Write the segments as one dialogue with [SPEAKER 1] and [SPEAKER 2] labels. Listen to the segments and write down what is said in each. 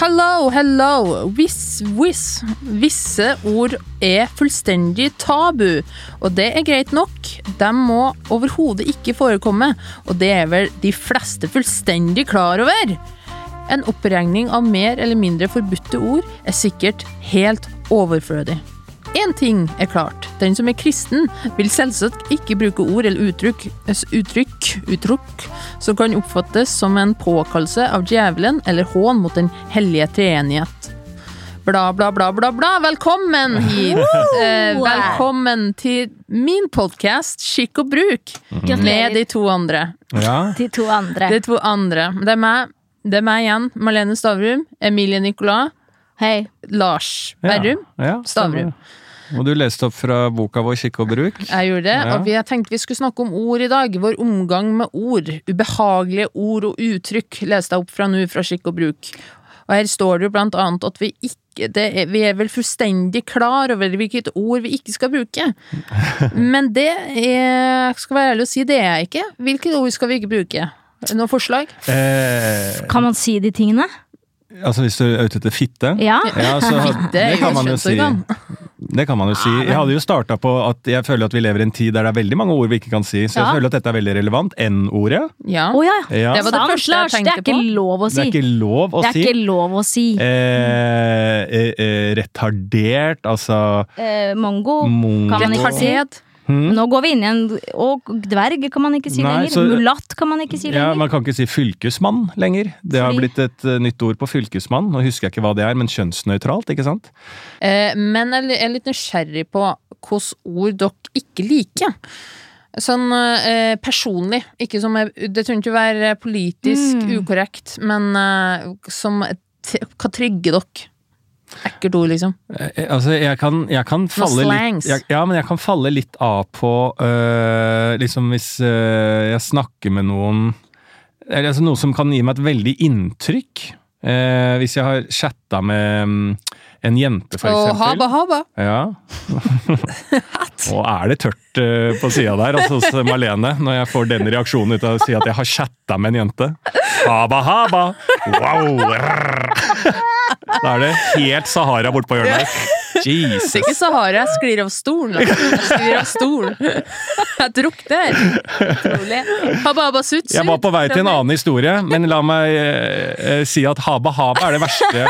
[SPEAKER 1] Hello, hello. Hvis, hvis. Visse ord er fullstendig tabu, og det er greit nok. De må overhodet ikke forekomme, og det er vel de fleste fullstendig klar over. En oppregning av mer eller mindre forbudte ord er sikkert helt overflødig. Én ting er klart. Den som er kristen, vil selvsagt ikke bruke ord eller uttrykk, uttrykk, uttrykk som kan oppfattes som en påkallelse av djevelen eller hån mot den hellige treenighet. Bla, bla, bla, bla, bla. Velkommen hit! Eh, velkommen til min podkast Skikk og bruk med
[SPEAKER 2] Gratulerer
[SPEAKER 1] de to andre.
[SPEAKER 3] Ja.
[SPEAKER 2] til to andre.
[SPEAKER 1] De to andre. Det er meg, det er meg igjen. Malene Stavrum. Emilie Nicolas.
[SPEAKER 2] Hei.
[SPEAKER 1] Lars
[SPEAKER 3] Ja.
[SPEAKER 1] Berrum.
[SPEAKER 3] Ja,
[SPEAKER 1] Stavrum.
[SPEAKER 3] stemmer. Og du leste opp fra boka vår 'Kikk og bruk'.
[SPEAKER 1] Jeg gjorde det,
[SPEAKER 3] Ja.
[SPEAKER 1] og vi- jeg tenkte vi skulle snakke om ord i dag. Vår omgang med ord. Ubehagelige ord og uttrykk leste jeg opp fra nå, fra Skikk og bruk. Og her står det jo blant annet at vi ikke det er, Vi er vel fullstendig klar over hvilket ord vi ikke skal bruke. Men det er, skal være ærlig å si, det er jeg ikke. Hvilket ord skal vi ikke bruke? Noen forslag?
[SPEAKER 3] Eh,
[SPEAKER 2] Kan man si de tingene?
[SPEAKER 3] altså hvis du er ute etter fitte?
[SPEAKER 2] Ja.
[SPEAKER 3] Ja, så,
[SPEAKER 1] Det er
[SPEAKER 3] det
[SPEAKER 1] jo
[SPEAKER 3] kan man jo si.
[SPEAKER 1] kjønnsorgan.
[SPEAKER 3] Det kan man jo si. Jeg hadde jo starta på at jeg føler at vi lever i en tid der det er veldig mange ord vi ikke kan si, så jeg
[SPEAKER 2] Ja.
[SPEAKER 3] føler at dette er veldig relevant. N-ordet.
[SPEAKER 1] Ja.
[SPEAKER 2] Å ja.
[SPEAKER 3] Ja.
[SPEAKER 1] Det var det
[SPEAKER 2] Sant,
[SPEAKER 1] første jeg
[SPEAKER 2] Lars, det
[SPEAKER 1] tenkte
[SPEAKER 2] er ikke
[SPEAKER 1] på.
[SPEAKER 2] lov å
[SPEAKER 3] Det
[SPEAKER 2] si.
[SPEAKER 3] er ikke lov å
[SPEAKER 2] Det er
[SPEAKER 3] si.
[SPEAKER 2] ikke lov å si.
[SPEAKER 3] Eh, eh, eh, retardert, altså Hmm?
[SPEAKER 2] Eh, mongo
[SPEAKER 3] Mongo.
[SPEAKER 2] kan man ikke si.
[SPEAKER 1] Retardert.
[SPEAKER 2] Nå går vi inn i en Og dverg kan man ikke si
[SPEAKER 3] Mm. Nei,
[SPEAKER 2] lenger.
[SPEAKER 3] så-
[SPEAKER 2] Mulatt kan man ikke si
[SPEAKER 3] ja,
[SPEAKER 2] lenger.
[SPEAKER 3] Man kan ikke si fylkesmann lenger. Det har
[SPEAKER 2] Fordi-
[SPEAKER 3] blitt et eh, nytt ord på fylkesmann. Nå husker jeg ikke hva det er, men kjønnsnøytralt, ikke sant?
[SPEAKER 1] Eh, men jeg li- er litt nysgjerrig på hvilke ord dere ikke liker. Sånn eh, personlig. Ikke som er, det trenger ikke være politisk
[SPEAKER 2] Mm.
[SPEAKER 1] ukorrekt, men eh, som t Hva trigger dere? Ekkelt ord, liksom.
[SPEAKER 3] Eh, Altså, jeg kan, jeg kan falle
[SPEAKER 1] slangs.
[SPEAKER 3] litt jeg, Ja, men jeg kan falle litt av på øh, Liksom hvis øh, jeg snakker med noen Eller altså noe som kan gi meg et veldig inntrykk. Eh, hvis jeg har chatta med mm, en jente, for
[SPEAKER 1] Og
[SPEAKER 3] eksempel.
[SPEAKER 1] haba, haba.
[SPEAKER 3] Ja. Og er det tørt eh, på sida der, altså hos Marlene, når jeg får den reaksjonen ut av å si at jeg har chatta med en jente? Haba, haba! Wow! rrr. Da er det helt Sahara bortpå hjørnet her.
[SPEAKER 1] Det er ikke
[SPEAKER 3] Jesus!
[SPEAKER 1] Sahara. Jeg sklir av stolen. altså. Jeg sklir av stolen. Jeg drukner. Utrolig. Haba, haba, sut, sut.
[SPEAKER 3] Jeg var på vei til en annen historie, men la meg eh, eh, si at haba, haba er det verste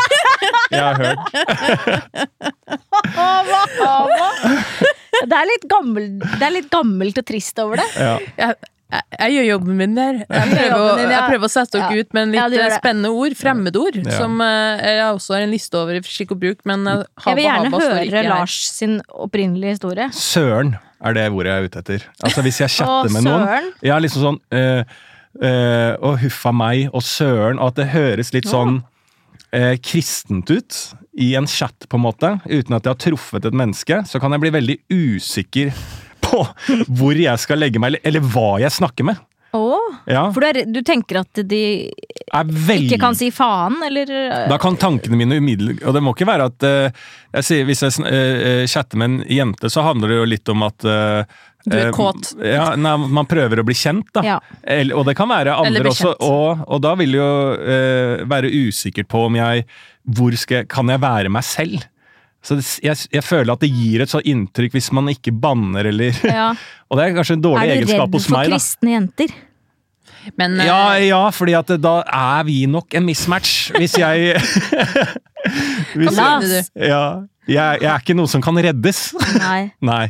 [SPEAKER 3] jeg har hørt.
[SPEAKER 2] Det er litt, gammel, det er litt gammelt og trist over det.
[SPEAKER 3] Ja.
[SPEAKER 1] jeg, jeg, jeg gjør jobben min der. Jeg prøver, å-
[SPEAKER 2] jobben din, ja.
[SPEAKER 1] jeg prøver å sette dere
[SPEAKER 2] Ja.
[SPEAKER 1] ut med en
[SPEAKER 2] Ja,
[SPEAKER 1] litt
[SPEAKER 2] du gjør
[SPEAKER 1] eh,
[SPEAKER 2] det.
[SPEAKER 1] spennende ord. Fremmedord.
[SPEAKER 3] Ja.
[SPEAKER 1] Som eh, jeg også har en liste over i skikk og bruk, men eh,
[SPEAKER 2] Jeg
[SPEAKER 1] haba,
[SPEAKER 2] vil gjerne
[SPEAKER 1] haba står ikke
[SPEAKER 2] høre
[SPEAKER 1] her.
[SPEAKER 2] Lars sin opprinnelige historie.
[SPEAKER 3] Søren er det ordet jeg er ute etter. Altså Hvis jeg chatter
[SPEAKER 2] Å,
[SPEAKER 3] med noen
[SPEAKER 2] søren.
[SPEAKER 3] Ja, liksom sånn eh, eh, Og huffa meg og søren, og at det høres litt sånn eh, kristent ut i en chat, på en måte, uten at jeg har truffet et menneske, så kan jeg bli veldig usikker på hvor jeg skal legge meg, eller- eller hva jeg snakker med.
[SPEAKER 2] Åh,
[SPEAKER 3] Ja,
[SPEAKER 2] For du, er, du tenker at de
[SPEAKER 3] er veldig
[SPEAKER 2] ikke kan si faen, eller eh,
[SPEAKER 3] Da kan tankene mine umiddelbart Og det må ikke være at eh, jeg sier, Hvis jeg sn- eh, eh, chatter med en jente, så handler det jo litt om at eh,
[SPEAKER 1] Du er
[SPEAKER 3] eh,
[SPEAKER 1] kåt.
[SPEAKER 3] Ja, nei, man prøver å bli kjent, da.
[SPEAKER 2] Ja.
[SPEAKER 3] Eller- og det kan være
[SPEAKER 1] Eller
[SPEAKER 3] andre
[SPEAKER 1] bli
[SPEAKER 3] også.
[SPEAKER 1] kjent.
[SPEAKER 3] Og, og da vil det jo eh, være usikkert på om jeg hvor skal, jeg- Kan jeg være meg selv? Så det, jeg, jeg føler at det gir et sånt inntrykk hvis man ikke banner, eller
[SPEAKER 2] ja.
[SPEAKER 3] Og det er kanskje en dårlig
[SPEAKER 2] Er du
[SPEAKER 3] egenskap
[SPEAKER 2] redd
[SPEAKER 3] hos
[SPEAKER 2] for
[SPEAKER 3] meg, da.
[SPEAKER 2] kristne jenter?
[SPEAKER 1] Men eh,
[SPEAKER 3] Ja, ja, fordi at da er vi nok en mismatch, hvis jeg
[SPEAKER 1] hva
[SPEAKER 3] Hvis
[SPEAKER 2] Ja.
[SPEAKER 1] mener du?
[SPEAKER 3] Ja. Jeg, jeg er ikke noe som kan reddes.
[SPEAKER 2] Nei.
[SPEAKER 3] Nei.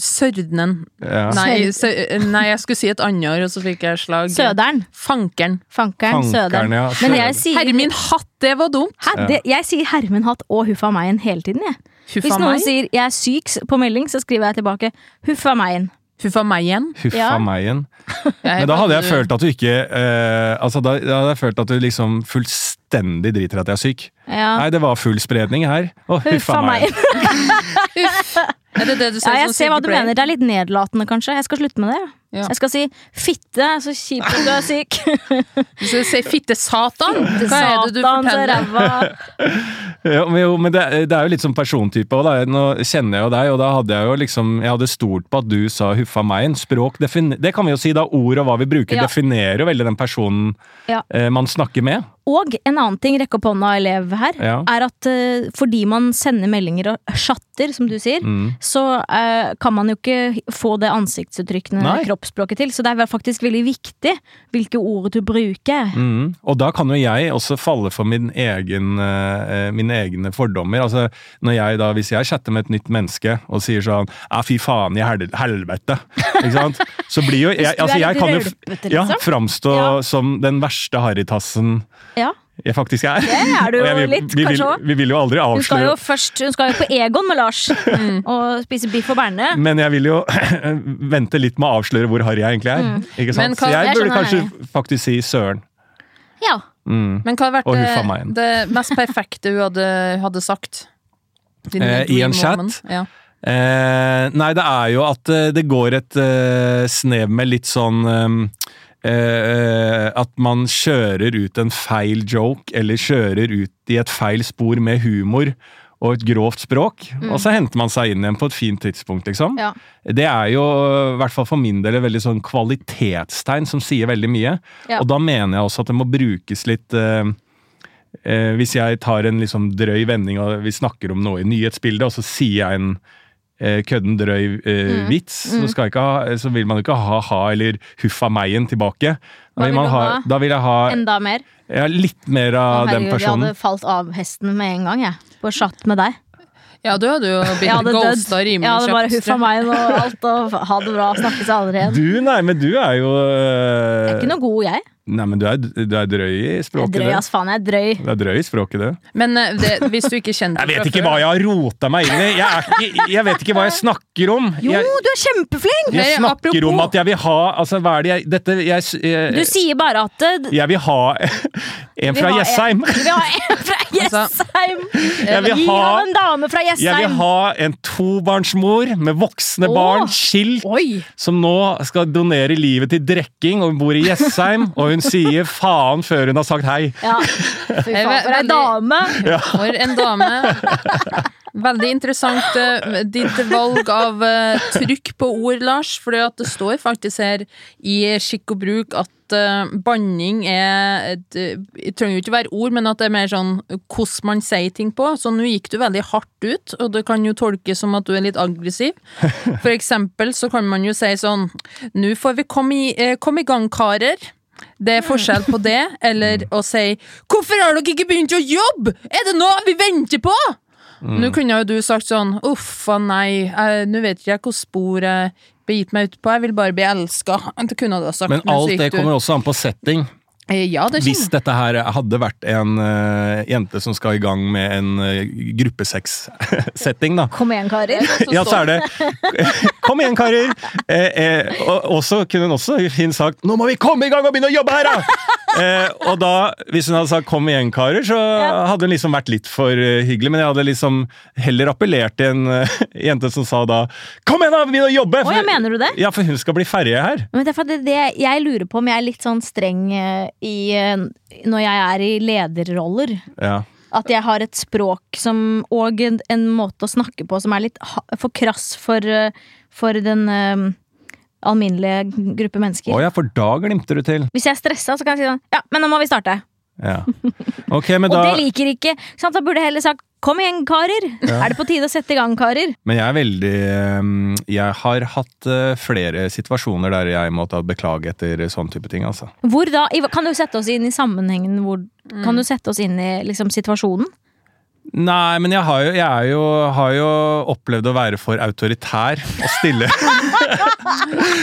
[SPEAKER 1] Sørdnen.
[SPEAKER 3] Ja.
[SPEAKER 1] Nei, sø, eh, nei, jeg skulle si et annet ord, og så fikk jeg slag.
[SPEAKER 2] Søderen.
[SPEAKER 1] Fankeren.
[SPEAKER 2] Fankeren.
[SPEAKER 3] Fankeren,
[SPEAKER 2] Søderen.
[SPEAKER 3] ja,
[SPEAKER 2] Men
[SPEAKER 3] søderen.
[SPEAKER 2] jeg sier,
[SPEAKER 1] Herre min hatt, det var dumt!
[SPEAKER 2] Hæ, det, jeg sier Hermenhatt og Huffa meg-en hele tiden, jeg. Hvis
[SPEAKER 1] Huffa
[SPEAKER 2] noen
[SPEAKER 1] meg.
[SPEAKER 2] sier 'jeg er syk' s- på melding, så skriver jeg tilbake 'Huffa meg-en'.
[SPEAKER 1] Huffa meg igjen.
[SPEAKER 3] Huffa
[SPEAKER 2] Ja.
[SPEAKER 3] meg igjen. Men da hadde jeg følt at du ikke eh, Altså, da, da hadde jeg følt at du liksom fullstendig driter i at jeg er syk.
[SPEAKER 2] Ja.
[SPEAKER 3] Nei, det var full spredning her. Å, huffa meg.
[SPEAKER 1] Er det det du
[SPEAKER 2] Ja,
[SPEAKER 1] ser
[SPEAKER 2] jeg ser hva du mener. Det er litt nedlatende, kanskje. Jeg skal slutte med det.
[SPEAKER 1] Ja.
[SPEAKER 2] Jeg skal si 'fitte', så kjipt at du er syk.
[SPEAKER 1] Hvis du sier fitte satan, hva er det du
[SPEAKER 2] Satan, så
[SPEAKER 1] forteller?
[SPEAKER 2] ræva.
[SPEAKER 3] Ja, men jo, men det, det er jo litt sånn persontype òg, da. Nå kjenner jeg jo deg, og da hadde jeg jo liksom Jeg hadde stolt på at du sa huffa meg. En språk defin- Det kan vi jo si, da. Ord og hva vi bruker,
[SPEAKER 2] Ja.
[SPEAKER 3] definerer jo veldig den personen
[SPEAKER 2] Ja.
[SPEAKER 3] eh, man snakker med.
[SPEAKER 2] Og en annen ting, rekk opp hånda, elev her,
[SPEAKER 3] Ja.
[SPEAKER 2] er at eh, fordi man sender meldinger og chatter, som du sier,
[SPEAKER 3] Mm.
[SPEAKER 2] så eh, kan man jo ikke få det ansiktsuttrykkene
[SPEAKER 3] Nei.
[SPEAKER 2] kroppsspråket til. Så det er faktisk veldig viktig hvilke ord du bruker.
[SPEAKER 3] Mm. Og da kan jo jeg også falle for min egen, eh, mine egne fordommer. Altså, når jeg da, Hvis jeg chatter med et nytt menneske og sier sånn «Ja, 'fy faen i hel helvete', ikke sant? så blir jo jeg,
[SPEAKER 2] du er
[SPEAKER 3] altså, jeg
[SPEAKER 2] litt
[SPEAKER 3] kan jo
[SPEAKER 2] rølpete,
[SPEAKER 3] ja,
[SPEAKER 2] liksom.
[SPEAKER 3] framstå
[SPEAKER 2] Ja.
[SPEAKER 3] som den verste harrytassen
[SPEAKER 2] Ja,
[SPEAKER 3] jeg faktisk er.
[SPEAKER 2] er du
[SPEAKER 3] Og jeg
[SPEAKER 2] jo
[SPEAKER 3] vil-
[SPEAKER 2] litt,
[SPEAKER 3] vi, vil,
[SPEAKER 2] kanskje også.
[SPEAKER 3] vi vil jo aldri
[SPEAKER 2] Hun skal jo
[SPEAKER 3] avsløre Mm.
[SPEAKER 2] først hun skal jo på Egon med Lars og spise biff og berne.
[SPEAKER 3] men jeg vil jo vente litt med å avsløre hvor harry jeg egentlig er. Ikke sant?
[SPEAKER 1] Men
[SPEAKER 3] Så
[SPEAKER 1] kan-
[SPEAKER 3] jeg
[SPEAKER 2] Mm. jeg
[SPEAKER 3] burde
[SPEAKER 2] skjønner
[SPEAKER 3] kanskje faktisk si 'søren'.
[SPEAKER 2] Ja.
[SPEAKER 3] Mm.
[SPEAKER 1] Men hva har vært
[SPEAKER 3] Og huffa
[SPEAKER 1] det,
[SPEAKER 3] meg igjen.
[SPEAKER 1] det mest perfekte hun hadde, hadde sagt? Din
[SPEAKER 3] Eh, i
[SPEAKER 1] dream
[SPEAKER 3] en chat?
[SPEAKER 1] moment. Ja.
[SPEAKER 3] Eh, nei, det er jo at eh, det går et eh, snev med litt sånn eh, eh, At man kjører ut en feil joke, eller kjører ut i et feil spor med humor og et grovt språk. Og så henter man seg inn igjen på et fint tidspunkt, liksom.
[SPEAKER 2] Ja.
[SPEAKER 3] Det er jo, i hvert fall for min del, et veldig sånn kvalitetstegn som sier veldig mye.
[SPEAKER 2] Ja.
[SPEAKER 3] Og da mener jeg også at det må brukes litt eh, eh, Hvis jeg tar en liksom drøy vending og vi snakker om noe i nyhetsbildet, og så sier jeg en eh, kødden drøy eh,
[SPEAKER 2] Mm.
[SPEAKER 3] vits, Så, skal jeg ikke ha, så vil man jo ikke ha ha eller huffa meg-en tilbake.
[SPEAKER 2] Hva vil du ha?
[SPEAKER 3] Da vil jeg ha
[SPEAKER 2] Enda mer.
[SPEAKER 3] ja, litt mer
[SPEAKER 2] Å,
[SPEAKER 3] av den
[SPEAKER 2] herregud, jeg hadde
[SPEAKER 3] personen.
[SPEAKER 2] falt av hesten med en gang, jeg. På chat med deg.
[SPEAKER 1] ja, du hadde jo
[SPEAKER 2] Jeg
[SPEAKER 1] blitt
[SPEAKER 2] hadde
[SPEAKER 1] ghosta rimelig
[SPEAKER 2] Jeg hadde bare
[SPEAKER 1] kjapt.
[SPEAKER 2] huffa meg og alt og ha det bra, snakkes aldri igjen.
[SPEAKER 3] Du, nei, men du er jo eh,
[SPEAKER 2] Ikke noe god, jeg.
[SPEAKER 3] Nei, men du er, du er drøy i
[SPEAKER 2] Jeg er
[SPEAKER 3] språket,
[SPEAKER 2] drøy, altså.
[SPEAKER 3] du.
[SPEAKER 2] ass faen. Jeg er drøy.
[SPEAKER 3] Du er drøy i språket, du.
[SPEAKER 1] Men eh, det, hvis du ikke kjente
[SPEAKER 3] Jeg vet ikke hva jeg har rota meg inn i! Jeg, er ikke, jeg vet ikke hva jeg snakker om!
[SPEAKER 2] Jo,
[SPEAKER 3] Jeg,
[SPEAKER 2] du er kjempeflink!
[SPEAKER 1] Nei,
[SPEAKER 3] jeg snakker
[SPEAKER 1] apropos-
[SPEAKER 3] om at jeg vil ha Altså, hva er det jeg Dette Jeg, s-
[SPEAKER 2] Du
[SPEAKER 3] jeg,
[SPEAKER 2] sier bare at eh,
[SPEAKER 3] jeg vil ha en
[SPEAKER 2] vi
[SPEAKER 3] fra
[SPEAKER 2] har en-
[SPEAKER 3] Jessheim!
[SPEAKER 2] Vi har en fra Jessheim!
[SPEAKER 3] Altså, Jeg vil
[SPEAKER 2] Gi
[SPEAKER 3] ha-
[SPEAKER 2] ham en dame fra
[SPEAKER 3] Jeg vil
[SPEAKER 2] Jessheim!
[SPEAKER 3] ha en tobarnsmor med voksne
[SPEAKER 2] Åh.
[SPEAKER 3] barn, skilt,
[SPEAKER 1] Oi!
[SPEAKER 3] som nå skal donere livet til drekking, og hun bor i Jessheim, og hun sier faen før hun har sagt hei.
[SPEAKER 2] Ja. Fy
[SPEAKER 1] Jeg
[SPEAKER 2] faen,
[SPEAKER 1] vet-
[SPEAKER 2] for ei
[SPEAKER 1] veldig-
[SPEAKER 2] dame!
[SPEAKER 1] For en dame. Veldig interessant eh, ditt valg av eh, trykk på ord, Lars. For det står faktisk her i skikk og bruk at eh, banning er et, Det trenger jo ikke være ord, men at det er mer sånn hvordan man sier ting på. Så nå gikk du veldig hardt ut, og det kan jo tolkes som at du er litt aggressiv. For eksempel så kan man jo si sånn Nå får vi komme i, eh, kom i gang, karer. Det er forskjell på det, eller å si 'Hvorfor har dere ikke begynt å jobbe?! Er det noe vi venter på?!
[SPEAKER 3] Mm.
[SPEAKER 1] Nå kunne jo du sagt sånn 'Uff a nei, jeg- nå vet ikke jeg hvilket spor jeg begitt meg ut på, jeg vil bare bli elska'. Det kunne du ha sagt.
[SPEAKER 3] Men
[SPEAKER 1] men så
[SPEAKER 3] alt
[SPEAKER 1] gikk
[SPEAKER 3] det
[SPEAKER 1] du-
[SPEAKER 3] kommer også an på setting.
[SPEAKER 1] Eh, Ja, det
[SPEAKER 3] Hvis
[SPEAKER 1] kommer.
[SPEAKER 3] dette her hadde vært en eh, jente som skal i gang med en uh, gruppesex-setting, da.
[SPEAKER 2] Kom igjen, karer.
[SPEAKER 3] Ja, så er det Kom igjen, karer! Eh, eh, og og så kunne hun også fint sagt 'Nå må vi komme i gang og begynne å jobbe her', da! Eh, og da, hvis hun hadde sagt 'kom igjen, karer', så hadde hun liksom vært litt for eh, hyggelig. Men jeg hadde liksom heller appellert til en eh, jente som sa da 'kom igjen, da! Begynn å jobbe!'
[SPEAKER 2] Å, ja, mener du det?
[SPEAKER 3] Ja, for hun skal bli ferje her.
[SPEAKER 2] Men det er for at det, det, jeg lurer på om jeg er litt sånn streng eh, i, eh, når jeg er i lederroller.
[SPEAKER 3] Ja.
[SPEAKER 2] At jeg har et språk som, og en, en måte å snakke på som er litt ha, for krass for, eh, for den eh, alminnelige gruppe mennesker.
[SPEAKER 3] Å ja, for da glimter du til.
[SPEAKER 2] Hvis jeg er stressa, så kan jeg si sånn Ja, men nå må vi starte.
[SPEAKER 3] Ja. Ok,
[SPEAKER 2] Og
[SPEAKER 3] men da
[SPEAKER 2] det liker ikke. ikke Sant? Da burde jeg heller sagt Kom igjen, karer! Er det på tide å sette i gang, karer?
[SPEAKER 3] Men jeg er veldig ehm, Jeg har hatt eh, flere situasjoner der jeg måtte beklage etter sånne type ting, altså.
[SPEAKER 2] Hvor da? i hva- Kan du sette oss inn i sammenhengen? Hvor, Kan du sette oss inn i liksom, situasjonen?
[SPEAKER 3] Nei, men jeg har jo, jeg er jo, har jo opplevd å være for autoritær og stille.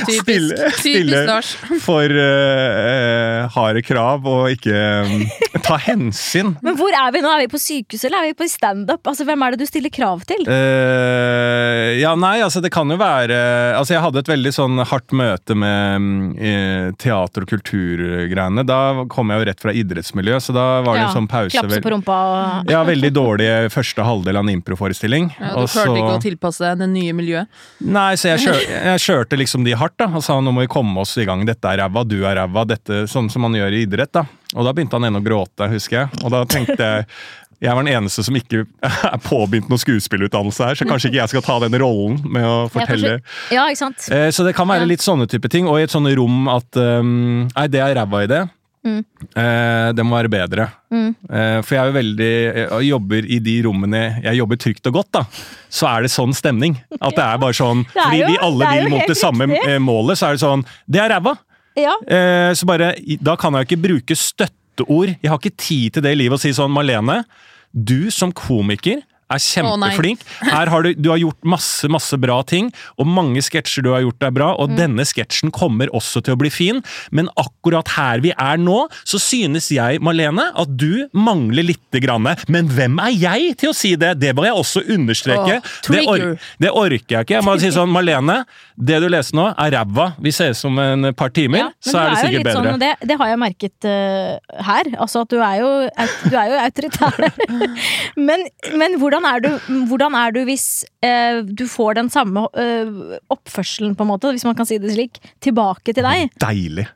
[SPEAKER 1] Typisk,
[SPEAKER 3] stille, stille.
[SPEAKER 1] typisk Lars.
[SPEAKER 3] For eh, eh, harde krav og ikke ehm, ta hensyn.
[SPEAKER 2] Men hvor er vi nå? Er vi på sykehuset, eller er vi på standup? Altså, hvem er det du stiller krav til?
[SPEAKER 3] Eh, ja, nei, altså det kan jo være Altså jeg hadde et veldig sånn hardt møte med mm, eh, teater- og kulturgreiene. Da kom jeg jo rett fra idrettsmiljø, så da var det en sånn pause.
[SPEAKER 2] Klapse
[SPEAKER 3] vel-
[SPEAKER 2] på rumpa og
[SPEAKER 3] Ja, veldig dårlig første halvdel av en improforestilling.
[SPEAKER 1] Ja, du
[SPEAKER 3] og så-
[SPEAKER 1] klarte ikke å tilpasse deg det nye miljøet.
[SPEAKER 3] Nei, så jeg, kjør, jeg kjørte liksom de hardt, da. Og sa nå må vi komme oss i gang, dette er ræva, du er ræva, dette sånn som man gjør i idrett, da. Og da begynte han ene å gråte, husker jeg. Og da tenkte jeg jeg var den eneste som ikke er påbegynt noen skuespillerutdannelse her, så kanskje ikke jeg skal ta den rollen med å
[SPEAKER 2] Jeg kanskje-
[SPEAKER 3] fortelle.
[SPEAKER 2] Ja, ikke sant?
[SPEAKER 3] Eh, Så det kan være litt sånne type ting. Og i et sånt rom at um, Nei, det ehm, er ræva i det.
[SPEAKER 2] Mm.
[SPEAKER 3] Eh, det må være bedre.
[SPEAKER 2] Mm.
[SPEAKER 3] Eh, for jeg er jo veldig jeg jobber i de rommene jeg jobber trygt og godt, da. Så er det sånn stemning. At det er bare sånn
[SPEAKER 2] er
[SPEAKER 3] Fordi
[SPEAKER 2] jo-
[SPEAKER 3] vi
[SPEAKER 2] det
[SPEAKER 3] alle
[SPEAKER 2] er jo
[SPEAKER 3] vil mot
[SPEAKER 2] helt
[SPEAKER 3] det samme
[SPEAKER 2] riktig.
[SPEAKER 3] eh, målet, så er det sånn Det er ræva!
[SPEAKER 2] Ja.
[SPEAKER 3] Eh, så bare i- Da kan jeg jo ikke bruke støtteord. Jeg har ikke tid til det i livet å si sånn Marlene, du som komiker er
[SPEAKER 1] Å, nei.
[SPEAKER 3] kjempeflink. Her har du, du har gjort masse masse bra ting, og mange sketsjer du har gjort er bra.
[SPEAKER 1] Mm.
[SPEAKER 3] Og denne sketsjen kommer også til å bli fin, men akkurat her vi er nå, så synes jeg, Marlene, at du mangler lite grann. Men hvem er jeg til å si det? Det må jeg også understreke.
[SPEAKER 1] Åh,
[SPEAKER 3] det,
[SPEAKER 1] trigger.
[SPEAKER 3] or det orker jeg ikke. Jeg må si sånn, Marlene, det du leser nå, er ræva. Vi ses om en par timer
[SPEAKER 2] Ja, men
[SPEAKER 3] så
[SPEAKER 2] du
[SPEAKER 3] er det
[SPEAKER 2] jo
[SPEAKER 3] sikkert
[SPEAKER 2] litt
[SPEAKER 3] bedre.
[SPEAKER 2] Sånn, og det, det har jeg merket eh, her. Altså at du er jo, au- du er jo autoritær. men men hvordan, er du, hvordan er du hvis eh, du får den samme eh, oppførselen, på en måte, hvis man kan si det slik, tilbake til deg?
[SPEAKER 3] Deilig.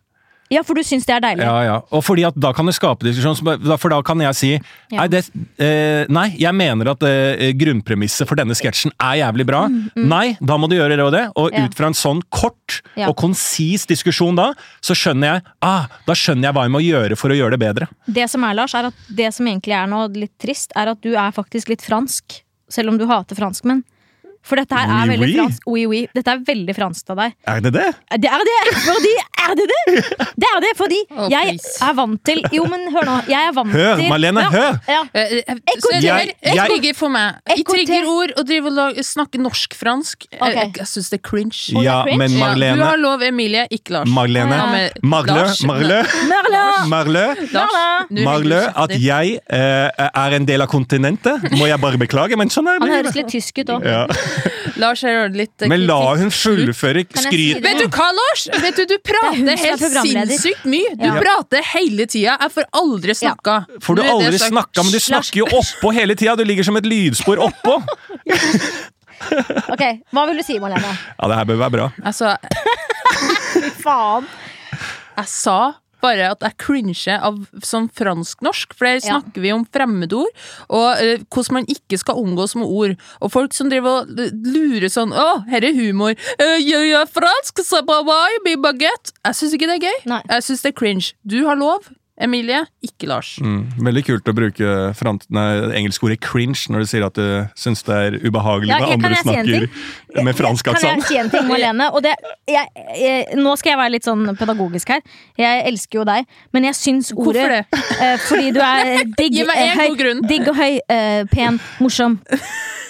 [SPEAKER 2] Ja, for du syns det er deilig.
[SPEAKER 3] Ja, ja. Og fordi at da kan det skape diskusjon, så bare- da- for da kan jeg si
[SPEAKER 2] Ja.
[SPEAKER 3] nei, det, eh, nei, jeg mener at eh, grunnpremisset for denne sketsjen er jævlig bra. Nei, da må du gjøre det og det. Og
[SPEAKER 2] Ja.
[SPEAKER 3] ut fra en sånn kort
[SPEAKER 2] Ja.
[SPEAKER 3] og konsis diskusjon da, så skjønner jeg ah, da skjønner jeg hva jeg må gjøre for å gjøre det bedre.
[SPEAKER 2] Det som er, Lars, er at det som egentlig er nå litt trist, er at du er faktisk litt fransk. Selv om du hater franskmenn. For dette her er
[SPEAKER 3] Oui,
[SPEAKER 2] veldig
[SPEAKER 3] oui.
[SPEAKER 2] fransk. Oui, oui. Dette er veldig fransk av deg.
[SPEAKER 3] Er det det?
[SPEAKER 2] Det er det! Fordi Er det det? Det er det, fordi
[SPEAKER 1] Å,
[SPEAKER 2] jeg
[SPEAKER 1] please.
[SPEAKER 2] er vant til Jo, men hør nå. Jeg er vant
[SPEAKER 3] Hø,
[SPEAKER 2] til
[SPEAKER 3] Marlene,
[SPEAKER 2] ja,
[SPEAKER 3] hø!
[SPEAKER 2] Ja.
[SPEAKER 1] Eh, eh, Så det
[SPEAKER 3] Jeg-
[SPEAKER 1] her er
[SPEAKER 3] jeg-
[SPEAKER 1] trigger for meg. I
[SPEAKER 2] EKT.
[SPEAKER 1] triggerord å drive og lag- snakke norsk-fransk. Eh,
[SPEAKER 2] Ok.
[SPEAKER 1] Jeg, jeg syns det er cringe.
[SPEAKER 3] Ja,
[SPEAKER 2] cringe.
[SPEAKER 1] Ja,
[SPEAKER 3] men
[SPEAKER 1] du har
[SPEAKER 3] Marlene
[SPEAKER 1] lov, Emilie, ikke Lars. Ja,
[SPEAKER 3] Marlene,
[SPEAKER 1] men
[SPEAKER 3] Marlø,
[SPEAKER 1] Lars-
[SPEAKER 3] Marlø,
[SPEAKER 2] Merle!
[SPEAKER 3] Marlø,
[SPEAKER 1] Lars,
[SPEAKER 2] Marlø.
[SPEAKER 1] nå ringer du
[SPEAKER 3] Marlø,
[SPEAKER 1] kjeften
[SPEAKER 3] at
[SPEAKER 1] din.
[SPEAKER 3] jeg eh, er en del av kontinentet, må jeg bare beklage, men sånn er
[SPEAKER 2] Han
[SPEAKER 3] det.
[SPEAKER 2] høres litt tysk ut òg.
[SPEAKER 3] Ja.
[SPEAKER 1] Lars, jeg hører litt eh,
[SPEAKER 3] Men la
[SPEAKER 1] kritikk.
[SPEAKER 3] hun fullføre
[SPEAKER 2] jeg si
[SPEAKER 3] skryt
[SPEAKER 2] det?
[SPEAKER 1] Vet du hva, Lars? Vet du, du
[SPEAKER 2] Det er
[SPEAKER 1] prater
[SPEAKER 2] hun som er
[SPEAKER 1] helt
[SPEAKER 2] programleder.
[SPEAKER 1] sinnssykt mye. Du
[SPEAKER 2] Ja.
[SPEAKER 1] prater hele tida. Jeg får aldri snakka.
[SPEAKER 3] For du
[SPEAKER 1] Nå er
[SPEAKER 3] har
[SPEAKER 1] det
[SPEAKER 3] aldri
[SPEAKER 1] sagt.
[SPEAKER 3] snakka, men du snakker jo oppå hele tida! Du ligger som et lydspor oppå!
[SPEAKER 2] Ok, hva vil du si, Marlene?
[SPEAKER 3] Ja, det her bør være bra.
[SPEAKER 1] Altså,
[SPEAKER 2] Faen.
[SPEAKER 1] jeg sa bare at jeg cringer av sånn fransk-norsk, for der
[SPEAKER 2] Ja.
[SPEAKER 1] snakker vi om fremmedord, og eh, hvordan man ikke skal omgås med ord. Og folk som driver og l- lurer sånn Å, her er humor. Eh, jeg er fransk, så bra, bra, jeg blir baguette. Jeg syns ikke det er gøy.
[SPEAKER 2] Nei.
[SPEAKER 1] Jeg syns det er cringe. Du har lov, Emilie. Ikke Lars.
[SPEAKER 3] Mm. Veldig kult å bruke frant, nei, det engelske ordet 'cringe' når du sier at du syns det er ubehagelig
[SPEAKER 2] Ja,
[SPEAKER 3] når
[SPEAKER 2] jeg- kan
[SPEAKER 3] andre
[SPEAKER 2] jeg si en ting?
[SPEAKER 3] snakker med fransk
[SPEAKER 2] Kan jeg
[SPEAKER 3] aksent.
[SPEAKER 2] si en ting, Marlene? Og det, jeg, jeg, nå skal jeg være litt sånn pedagogisk her. Jeg elsker jo deg, men jeg syns ordet
[SPEAKER 1] Hvorfor det?
[SPEAKER 2] Eh, fordi du er digg,
[SPEAKER 1] Gi meg
[SPEAKER 2] eh,
[SPEAKER 1] en
[SPEAKER 2] høy,
[SPEAKER 1] god grunn.
[SPEAKER 2] digg og høy, eh, pen, morsom.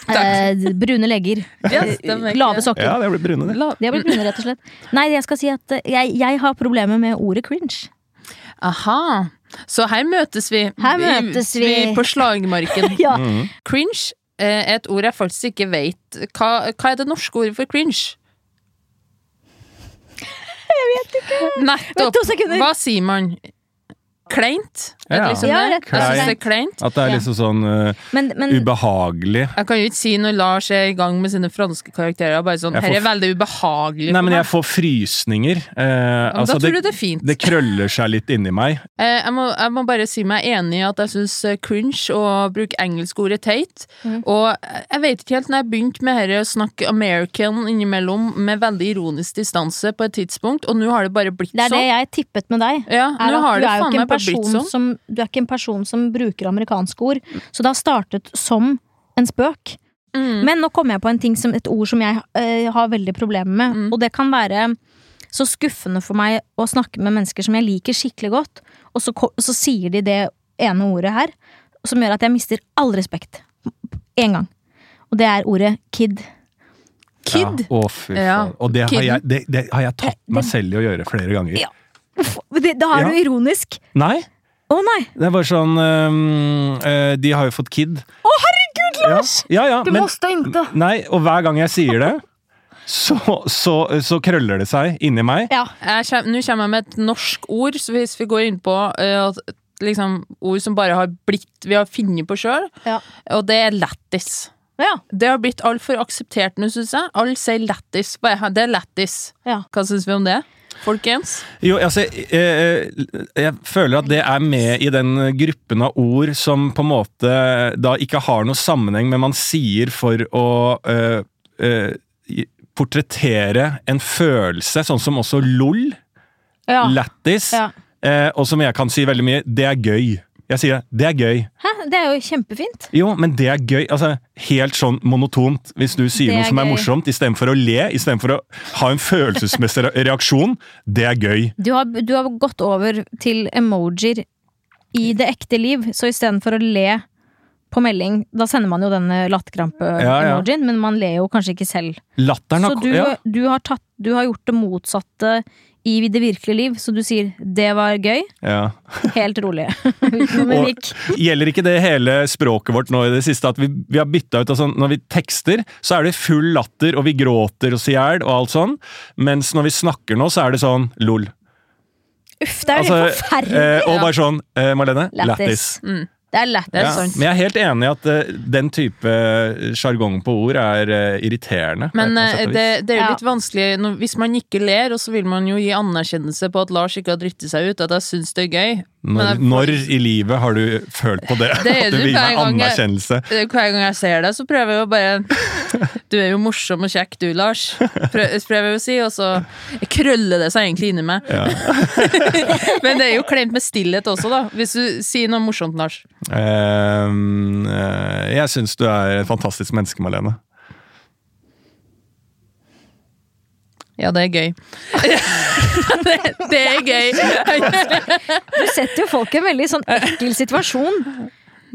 [SPEAKER 2] Eh, brune legger.
[SPEAKER 1] Ja,
[SPEAKER 2] eh,
[SPEAKER 1] stemmer.
[SPEAKER 2] Lave sokker.
[SPEAKER 3] Ja, det blir brune, det.
[SPEAKER 1] La,
[SPEAKER 2] De har blitt brune, rett og slett. Nei, jeg skal si at eh, jeg, jeg har problemer med ordet cringe.
[SPEAKER 1] Aha. Så her møtes vi.
[SPEAKER 2] Her møtes vi.
[SPEAKER 1] På slagmarken.
[SPEAKER 2] Ja.
[SPEAKER 1] Cringe eh, er et ord jeg faktisk ikke vet. Hva, hva er det norske ordet for cringe? Jeg vet ikke.
[SPEAKER 2] Vent
[SPEAKER 1] Nettopp.
[SPEAKER 2] to sekunder.
[SPEAKER 1] Hhva sier man? Kleint? Er det
[SPEAKER 3] Ja.
[SPEAKER 1] liksom
[SPEAKER 2] Ja,
[SPEAKER 1] det?
[SPEAKER 2] rett
[SPEAKER 3] og
[SPEAKER 1] Jeg synes det
[SPEAKER 2] slett.
[SPEAKER 1] er kleint.
[SPEAKER 3] At det er
[SPEAKER 2] Ja.
[SPEAKER 3] liksom sånn eh,
[SPEAKER 2] Men, men
[SPEAKER 3] ubehagelig.
[SPEAKER 1] Jeg kan jo ikke si når Lars er i gang med sine franske karakterer, bare sånn
[SPEAKER 3] Jeg får
[SPEAKER 1] Her er veldig ubehagelig. for
[SPEAKER 3] Nei, men
[SPEAKER 1] meg."
[SPEAKER 3] jeg får frysninger. Eh,
[SPEAKER 1] Ja, men
[SPEAKER 3] altså,
[SPEAKER 1] da tror du det er fint.
[SPEAKER 3] det krøller seg litt inni meg.
[SPEAKER 1] Eh, jeg, må, jeg må bare si meg enig i at jeg syns cringe og bruke engelskordet teit.
[SPEAKER 2] Mm.
[SPEAKER 1] Og jeg jeg vet ikke helt når jeg begynte med dette å snakke American innimellom med veldig ironisk distanse på et tidspunkt, og nå har det bare blitt
[SPEAKER 2] det er det
[SPEAKER 1] sånn.
[SPEAKER 2] jeg tippet med deg.
[SPEAKER 1] Ja,
[SPEAKER 2] Er
[SPEAKER 1] nå
[SPEAKER 2] at
[SPEAKER 1] har
[SPEAKER 2] du,
[SPEAKER 1] det
[SPEAKER 2] er jo
[SPEAKER 1] faen
[SPEAKER 2] ikke en
[SPEAKER 1] meg bare blitt
[SPEAKER 2] person
[SPEAKER 1] sånn.
[SPEAKER 2] som, du er ikke en person som bruker amerikanske ord, så det har startet som en spøk.
[SPEAKER 1] Mm.
[SPEAKER 2] Men nå kom jeg på en ting som, et ord som jeg eh, har veldig problemer med.
[SPEAKER 1] Mm.
[SPEAKER 2] Og det kan være så skuffende for meg å snakke med mennesker som jeg liker skikkelig godt, og så, ko- så sier de det ene ordet her, som gjør at jeg mister all respekt. Én gang. Og det er ordet kid.
[SPEAKER 1] Kid.
[SPEAKER 3] Ja, å, fy faen.
[SPEAKER 1] Ja.
[SPEAKER 3] Og det har,
[SPEAKER 1] Kidden.
[SPEAKER 3] jeg, det, det har jeg tatt meg selv i å gjøre flere ganger.
[SPEAKER 2] Ja. Uff, det, da er
[SPEAKER 3] Ja.
[SPEAKER 2] du ironisk.
[SPEAKER 3] Nei,
[SPEAKER 2] Å nei!
[SPEAKER 3] det er bare sånn øhm, øh, De har jo fått kid.
[SPEAKER 2] Å herregud, Lars!
[SPEAKER 3] Ja, ja, men,
[SPEAKER 2] inte.
[SPEAKER 3] nei, og hver gang jeg sier det, så, så, så krøller det seg inni meg.
[SPEAKER 2] Ja.
[SPEAKER 1] Jeg kjem- Nå kommer jeg med et norsk ord, så hvis vi går inn på eh, at- liksom, ord som bare har blitt Vi har funnet på sjøl,
[SPEAKER 2] Ja.
[SPEAKER 1] og det er lættis.
[SPEAKER 2] ja.
[SPEAKER 1] Det har blitt altfor akseptert nå, syns jeg. Alle sier lættis. Bare, "Ja, Det er lættis.
[SPEAKER 2] ja.
[SPEAKER 1] Hva syns vi om det, folkens?
[SPEAKER 3] Jo, altså, jeg, jeg føler at det er med i den gruppen av ord som på en måte da ikke har noe sammenheng, men man sier for å øh, øh, portrettere en følelse, sånn som også LOL,
[SPEAKER 2] ja.
[SPEAKER 3] lættis.
[SPEAKER 2] Ja.
[SPEAKER 3] eh, og som jeg kan si veldig mye, det er gøy. Jeg sier det. Det er gøy.
[SPEAKER 2] Hæ? Det er jo kjempefint.
[SPEAKER 3] Jo, men det er gøy. Altså, helt sånn monotont. Hvis du sier
[SPEAKER 2] Det
[SPEAKER 3] noe
[SPEAKER 2] er
[SPEAKER 3] som er
[SPEAKER 2] gøy.
[SPEAKER 3] morsomt, istedenfor å le, istedenfor å ha en følelsesmessig re- reaksjon, det er gøy.
[SPEAKER 2] Du har, du har gått over til emojier i det ekte liv, så istedenfor å le på melding Da sender man jo denne
[SPEAKER 3] Ja, ja.
[SPEAKER 2] latterkrampe-emojien, men man ler jo kanskje ikke selv.
[SPEAKER 3] Latteren
[SPEAKER 2] Så
[SPEAKER 3] har
[SPEAKER 2] du,
[SPEAKER 3] ja.
[SPEAKER 2] du, har tatt, du har gjort det motsatte i det virkelige liv, så du sier 'det var gøy',
[SPEAKER 3] ja.
[SPEAKER 2] helt rolig. Uten
[SPEAKER 3] Og-
[SPEAKER 2] mimikk.
[SPEAKER 3] Gjelder ikke det hele språket vårt nå i det siste, at vi, vi har bytta ut av sånn Når vi tekster, så er det full latter, og vi gråter oss i hjel og alt sånn, mens når vi snakker nå, så er det sånn lol.
[SPEAKER 2] Uff, det er jo helt
[SPEAKER 3] Altså,
[SPEAKER 2] forferdelig!
[SPEAKER 3] eh, og bare sånn, eh, Marlene,
[SPEAKER 2] Lættis. Mm.
[SPEAKER 3] lættis.
[SPEAKER 2] Det er lættis. sånn.
[SPEAKER 1] Det er
[SPEAKER 3] Ja,
[SPEAKER 1] sant.
[SPEAKER 3] Men jeg er helt enig i at eh, den type eh, sjargong på ord er eh, irriterende. på et
[SPEAKER 1] Men
[SPEAKER 3] eller annet
[SPEAKER 1] eh,
[SPEAKER 3] sett og
[SPEAKER 1] det,
[SPEAKER 3] vis.
[SPEAKER 1] det er jo
[SPEAKER 2] Ja.
[SPEAKER 1] litt vanskelig når, hvis man ikke ler, og så vil man jo gi anerkjennelse på at Lars ikke har dritt seg ut, at jeg syns det er gøy. Men
[SPEAKER 3] når,
[SPEAKER 1] jeg-
[SPEAKER 3] når i livet har du følt på det?
[SPEAKER 1] Det er
[SPEAKER 3] at du
[SPEAKER 1] du
[SPEAKER 3] vil gi
[SPEAKER 1] hver
[SPEAKER 3] meg
[SPEAKER 1] gang jeg-
[SPEAKER 3] anerkjennelse?
[SPEAKER 1] Eh, Hver gang jeg ser deg, så prøver jeg å bare Du er jo morsom og kjekk, du, Lars. Prø- Prøver jeg å si, og så krøller det seg egentlig inni meg. Men det er jo klemt med stillhet også, da. Hvis du sier noe morsomt, Lars.
[SPEAKER 3] Ehm, eh, jeg syns du er et fantastisk menneske, Malene.
[SPEAKER 1] Ja, det er gøy. det, det er gøy.
[SPEAKER 2] Du setter jo folk i en veldig sånn ekkel situasjon.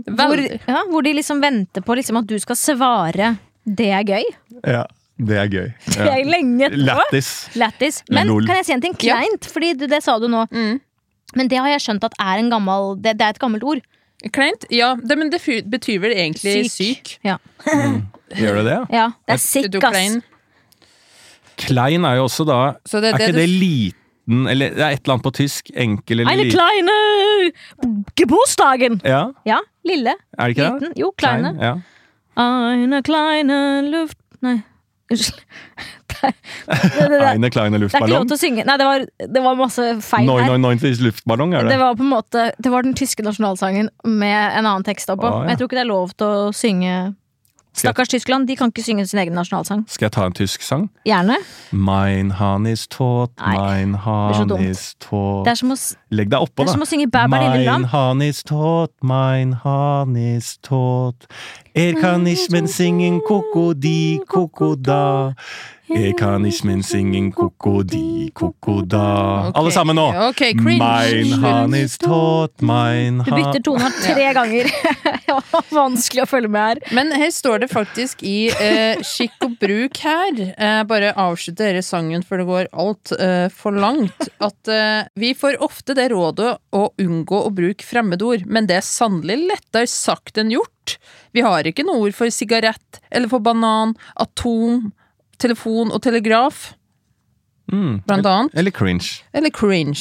[SPEAKER 2] Hvor,
[SPEAKER 1] Veldig.
[SPEAKER 2] ja, hvor de liksom venter på liksom at du skal svare 'det er gøy'.
[SPEAKER 3] Ja, det er gøy.
[SPEAKER 2] Det er lenge etterpå.
[SPEAKER 3] Lættis.
[SPEAKER 2] Lættis. Men
[SPEAKER 3] Lol.
[SPEAKER 2] kan jeg si en ting
[SPEAKER 1] Ja. Mm.
[SPEAKER 2] kleint? Fordi det, det sa du nå. Men det har jeg skjønt at er en gammel Det, det er et gammelt ord.
[SPEAKER 1] Kleint? Ja, det, men det fy- betyr vel egentlig syk.
[SPEAKER 2] Ja.
[SPEAKER 3] Gjør du det?
[SPEAKER 2] ja. Det er
[SPEAKER 1] Er
[SPEAKER 2] sick,
[SPEAKER 1] du
[SPEAKER 2] ass.
[SPEAKER 1] klein?
[SPEAKER 3] Klein er jo også da
[SPEAKER 1] Så det er det
[SPEAKER 3] Er ikke
[SPEAKER 1] du-
[SPEAKER 3] det liten eller Det er et eller annet på tysk. Enkel eller
[SPEAKER 2] Eine
[SPEAKER 3] liten.
[SPEAKER 2] kleine Geburtsdagen!
[SPEAKER 3] Ja,
[SPEAKER 2] Ja, lille.
[SPEAKER 3] er det ikke det?
[SPEAKER 2] Liten. Jo, kleine.
[SPEAKER 3] ja.
[SPEAKER 2] Eine kleine eh, luft... Nei, unnskyld. Det, det, det, det,
[SPEAKER 3] Eine kleine
[SPEAKER 2] det er ikke lov
[SPEAKER 3] luftballong.
[SPEAKER 2] til å synge. Nei, det var, det var masse feil
[SPEAKER 3] Noi,
[SPEAKER 2] her.
[SPEAKER 3] noi, noi, luftballong, er
[SPEAKER 2] Det
[SPEAKER 3] det?
[SPEAKER 2] var på en måte Det var den tyske nasjonalsangen med en annen tekst oppå.
[SPEAKER 3] Å, ja.
[SPEAKER 2] Men Jeg tror ikke det er lov til å synge
[SPEAKER 3] Skal jeg-
[SPEAKER 2] Stakkars Tyskland, de kan ikke synge sin egen nasjonalsang.
[SPEAKER 3] Skal jeg ta en tysk sang?
[SPEAKER 2] Gjerne.
[SPEAKER 3] Mein Han is tot,
[SPEAKER 2] Nei,
[SPEAKER 3] mein
[SPEAKER 2] er så
[SPEAKER 3] Han
[SPEAKER 2] dumt.
[SPEAKER 3] is tot
[SPEAKER 2] Det er som å, s-
[SPEAKER 3] Legg deg oppå,
[SPEAKER 2] det er
[SPEAKER 3] da.
[SPEAKER 2] som å synge Bæ, bæ, lille
[SPEAKER 3] Mein
[SPEAKER 2] lam.
[SPEAKER 3] Han is tot, mein Han is tot. Er kan nicht mehr singen koko di koko da. Er kan nicht mehr singen koko di koko da.
[SPEAKER 1] Ok.
[SPEAKER 3] Alle sammen nå!
[SPEAKER 1] Ok, cringe.
[SPEAKER 3] Mein Han is tot, mein
[SPEAKER 2] Du
[SPEAKER 3] Han
[SPEAKER 2] bytter toner tre ganger. Det var Vanskelig å følge med her.
[SPEAKER 1] Men her står det faktisk i eh, skikk og bruk her, eh, bare avslutte denne sangen før det går alt eh, for langt, at eh, vi får ofte det rådet å unngå å bruke fremmedord, men det er sannelig lettere sagt enn gjort. Vi har ikke noe ord for sigarett, eller for banan, atom, telefon og telegraf,
[SPEAKER 3] Mm.
[SPEAKER 1] blant annet,
[SPEAKER 3] Eller cringe.
[SPEAKER 1] eller cringe.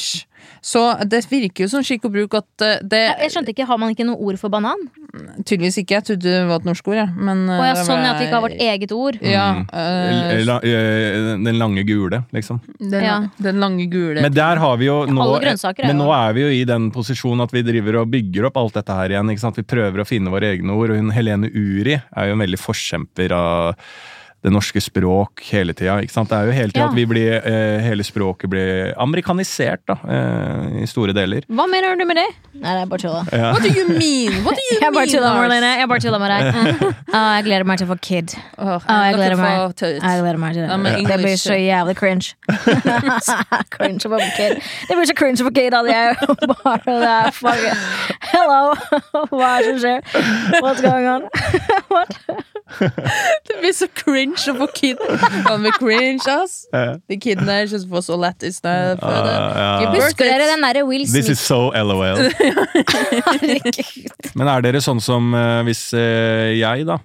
[SPEAKER 1] Så det virker jo som skikk og bruk at eh, det
[SPEAKER 2] Jeg skjønte ikke, Har man ikke noe ord for banan?
[SPEAKER 1] tydeligvis ikke, jeg trodde det var et norsk ord, jeg. Men, eh,
[SPEAKER 2] Å ja,
[SPEAKER 1] det
[SPEAKER 2] sånn
[SPEAKER 1] var-
[SPEAKER 2] at vi ikke har vårt eget ord.
[SPEAKER 1] Ja,
[SPEAKER 3] Mm.
[SPEAKER 1] eh,
[SPEAKER 3] Eller, eh, Den lange gule, liksom.
[SPEAKER 1] Den,
[SPEAKER 2] Ja.
[SPEAKER 1] den lange gule
[SPEAKER 3] Men der har vi jo nå,
[SPEAKER 2] alle grønnsaker er
[SPEAKER 3] men
[SPEAKER 2] jo-
[SPEAKER 3] nå er vi jo i den posisjonen at vi driver og bygger opp alt dette her igjen. Ikke sant? Vi prøver å finne våre egne ord. Og hun Helene Uri er jo en veldig forkjemper av det norske språk hele tida. ikke sant? Det er jo hele
[SPEAKER 2] Ja.
[SPEAKER 3] tida at vi blir, eh, hele språket blir amerikanisert, da. Eh, I store deler.
[SPEAKER 2] Hva mener du med det? Nei, det er bare tulla.
[SPEAKER 1] What do you mean? What do you
[SPEAKER 2] Jeg bare
[SPEAKER 1] mean,
[SPEAKER 2] tulla,
[SPEAKER 1] Lars?
[SPEAKER 2] Marlene. Jeg bare tulla med deg. Å, jeg gleder meg til å få kid.
[SPEAKER 1] Åh,
[SPEAKER 2] Å,
[SPEAKER 1] dere
[SPEAKER 2] jeg gleder meg.
[SPEAKER 1] får ta ut.
[SPEAKER 2] Jeg gleder meg til
[SPEAKER 1] Ja, men
[SPEAKER 2] det. Det blir
[SPEAKER 1] English-
[SPEAKER 2] så jævlig cringe. cringe of a kid. Det blir så cringe of a kid at jeg bare det er fucking Hello! Hva er det som skjer? What's going on?
[SPEAKER 1] Det blir så cringe å få kid. Han blir cringe, ass.
[SPEAKER 3] Ja.
[SPEAKER 1] De kidene her synes på så lættis når jeg får det.
[SPEAKER 3] Eh, Ja, ja.
[SPEAKER 1] Give birth
[SPEAKER 2] Husker dere den derre Will
[SPEAKER 3] This is
[SPEAKER 2] Smith?
[SPEAKER 3] so LOL.
[SPEAKER 2] Herregud.
[SPEAKER 3] Men er dere sånn som eh, hvis eh, jeg, da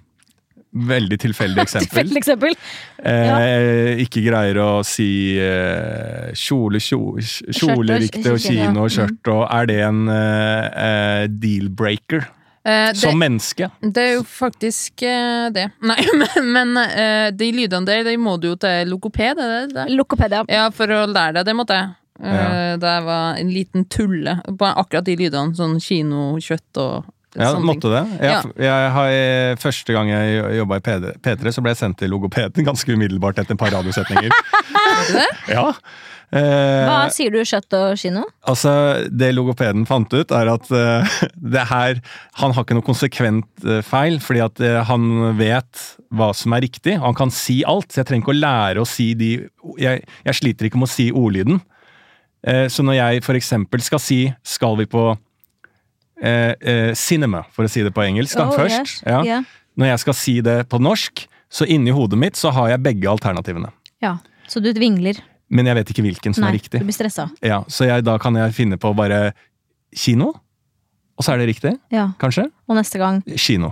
[SPEAKER 3] Veldig tilfeldig eksempel.
[SPEAKER 2] Tilfeldig eksempel.
[SPEAKER 3] Eh, ikke greier å si eh, kjole, kjo- kj-
[SPEAKER 2] Skjørt og
[SPEAKER 3] kjolerykte og
[SPEAKER 2] kj- ja.
[SPEAKER 3] kino og skjørt, og er det en eh, eh, deal-breaker
[SPEAKER 1] Eh, det,
[SPEAKER 3] som menneske?
[SPEAKER 1] det er jo faktisk eh, det. Nei, men, men eh, de lydene der, de må du jo til logoped, er det det?
[SPEAKER 2] Lokopedia.
[SPEAKER 1] Ja, for å lære deg det, måtte jeg. Eh,
[SPEAKER 3] Ja.
[SPEAKER 1] Da jeg var en liten tulle på akkurat de lydene. Sånn kino, kjøtt og
[SPEAKER 3] Ja,
[SPEAKER 1] sånne ting.
[SPEAKER 3] måtte det. Jeg,
[SPEAKER 1] Ja.
[SPEAKER 3] jeg har, eh, første gang jeg jobba i PD P3, så ble jeg sendt til logopeden ganske umiddelbart etter et par radiosetninger.
[SPEAKER 1] det?
[SPEAKER 3] ja. Eh,
[SPEAKER 2] Hva sier du, kjøtt og kino?
[SPEAKER 3] Altså, Det logopeden fant ut, er at eh, det her Han har ikke noe konsekvent eh, feil, fordi at eh, han vet hva som er riktig. Han kan si alt, så jeg trenger ikke å lære å si de Jeg, jeg sliter ikke med å si ordlyden. Eh, så når jeg f.eks. skal si 'skal vi på eh, eh, cinema', for å si det på engelsk da,
[SPEAKER 2] Oh,
[SPEAKER 3] først
[SPEAKER 2] yes.
[SPEAKER 3] ja.
[SPEAKER 2] Ja.
[SPEAKER 3] Når jeg skal si det på norsk, så inni hodet mitt så har jeg begge alternativene.
[SPEAKER 2] Ja, så du vingler.
[SPEAKER 3] Men jeg vet ikke hvilken som
[SPEAKER 2] Nei,
[SPEAKER 3] er riktig.
[SPEAKER 2] du blir stressa.
[SPEAKER 3] Ja, så jeg, da kan jeg finne på bare kino. Og så er det riktig,
[SPEAKER 2] Ja,
[SPEAKER 3] kanskje?
[SPEAKER 2] og neste gang.
[SPEAKER 3] Kino.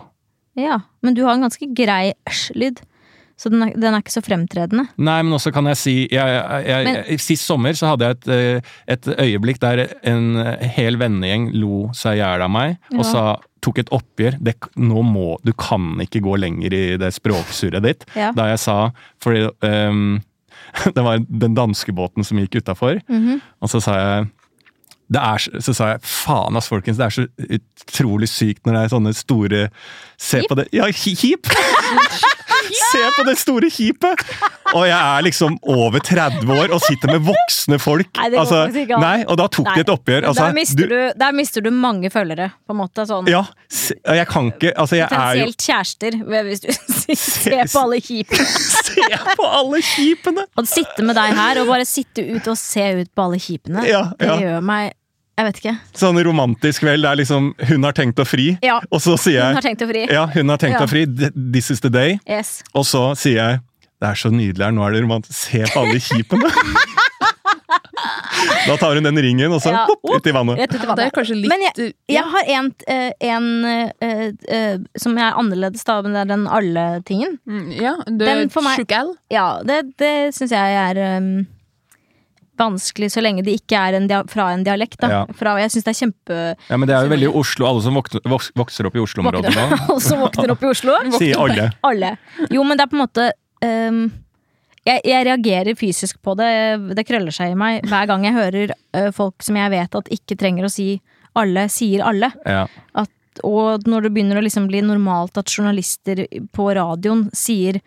[SPEAKER 2] Ja, men du har en ganske grei æsj-lyd. Så den er, den er ikke så fremtredende.
[SPEAKER 3] Nei, men også kan jeg si jeg, jeg, jeg,
[SPEAKER 2] Men-
[SPEAKER 3] Sist sommer så hadde jeg et, eh, et øyeblikk der en hel vennegjeng lo seg i hjel av meg
[SPEAKER 2] Ja.
[SPEAKER 3] og sa, tok et oppgjør. Det, nå må, du kan ikke gå lenger i det språksurret ditt.
[SPEAKER 2] Ja.
[SPEAKER 3] Da jeg sa Fordi ehm, det var den danske båten som gikk utafor,
[SPEAKER 2] Mhm.
[SPEAKER 3] og så sa jeg det er, så- så sa jeg faen ass, folkens, det er så utrolig sykt når det er sånne store Se på det Ja, hi- hip! Se på det store hipet! Og jeg er liksom over 30 år og sitter med voksne folk.
[SPEAKER 2] Nei, det går faktisk ikke an.
[SPEAKER 3] Altså, nei, og da tok de et oppgjør. Altså,
[SPEAKER 2] der, mister du, der mister du mange følgere, på en måte. Sånn.
[SPEAKER 3] Ja, se- jeg kan ikke Altså, jeg er jo
[SPEAKER 2] Potensielt kjærester, ved- hvis du ser på alle hipene.
[SPEAKER 3] Se på alle hipene!
[SPEAKER 2] Å sitte med deg her og bare sitte ut og se ut på alle hipene,
[SPEAKER 3] Ja, ja.
[SPEAKER 2] det gjør meg Jeg vet ikke.
[SPEAKER 3] Sånn romantisk kveld der liksom hun har tenkt å fri,
[SPEAKER 2] Ja.
[SPEAKER 3] og så sier jeg
[SPEAKER 2] Hun har tenkt å fri.
[SPEAKER 3] Ja, hun har tenkt
[SPEAKER 2] Ja.
[SPEAKER 3] å fri. Th- This is the day.
[SPEAKER 2] Yes.
[SPEAKER 3] Og så sier jeg det er så nydelig her, nå er det romantisk. Se på alle kjipene! da tar hun den ringen, og så
[SPEAKER 2] Ja.
[SPEAKER 3] hopp, ut i vannet.
[SPEAKER 2] Rett ut i
[SPEAKER 1] Ja, det
[SPEAKER 2] vannet.
[SPEAKER 1] er kanskje litt
[SPEAKER 2] Men Jeg har en, eh, en eh, eh, som er annerledes, da, men det er den alle-tingen.
[SPEAKER 1] Mm, Ja, du er
[SPEAKER 2] Den for meg-
[SPEAKER 1] tjukk L.
[SPEAKER 2] Ja, det, det syns jeg er em, vanskelig, så lenge det ikke er en dia fra en dialekt. Da.
[SPEAKER 3] Ja.
[SPEAKER 2] Fra, jeg syns det er kjempe...
[SPEAKER 3] Ja, men Det er jo veldig Oslo, alle som vokner- voks- vokser opp i Oslo-området nå.
[SPEAKER 2] Alle som våkner opp i Oslo.
[SPEAKER 3] Sier alle.
[SPEAKER 2] Alle. Jo, men det er på en måte em, jeg, jeg reagerer fysisk på det. Det krøller seg i meg hver gang jeg hører eh, folk som jeg vet at ikke trenger å si alle, sier alle.
[SPEAKER 3] Ja.
[SPEAKER 2] at, og når det begynner å liksom bli normalt at journalister på radioen sier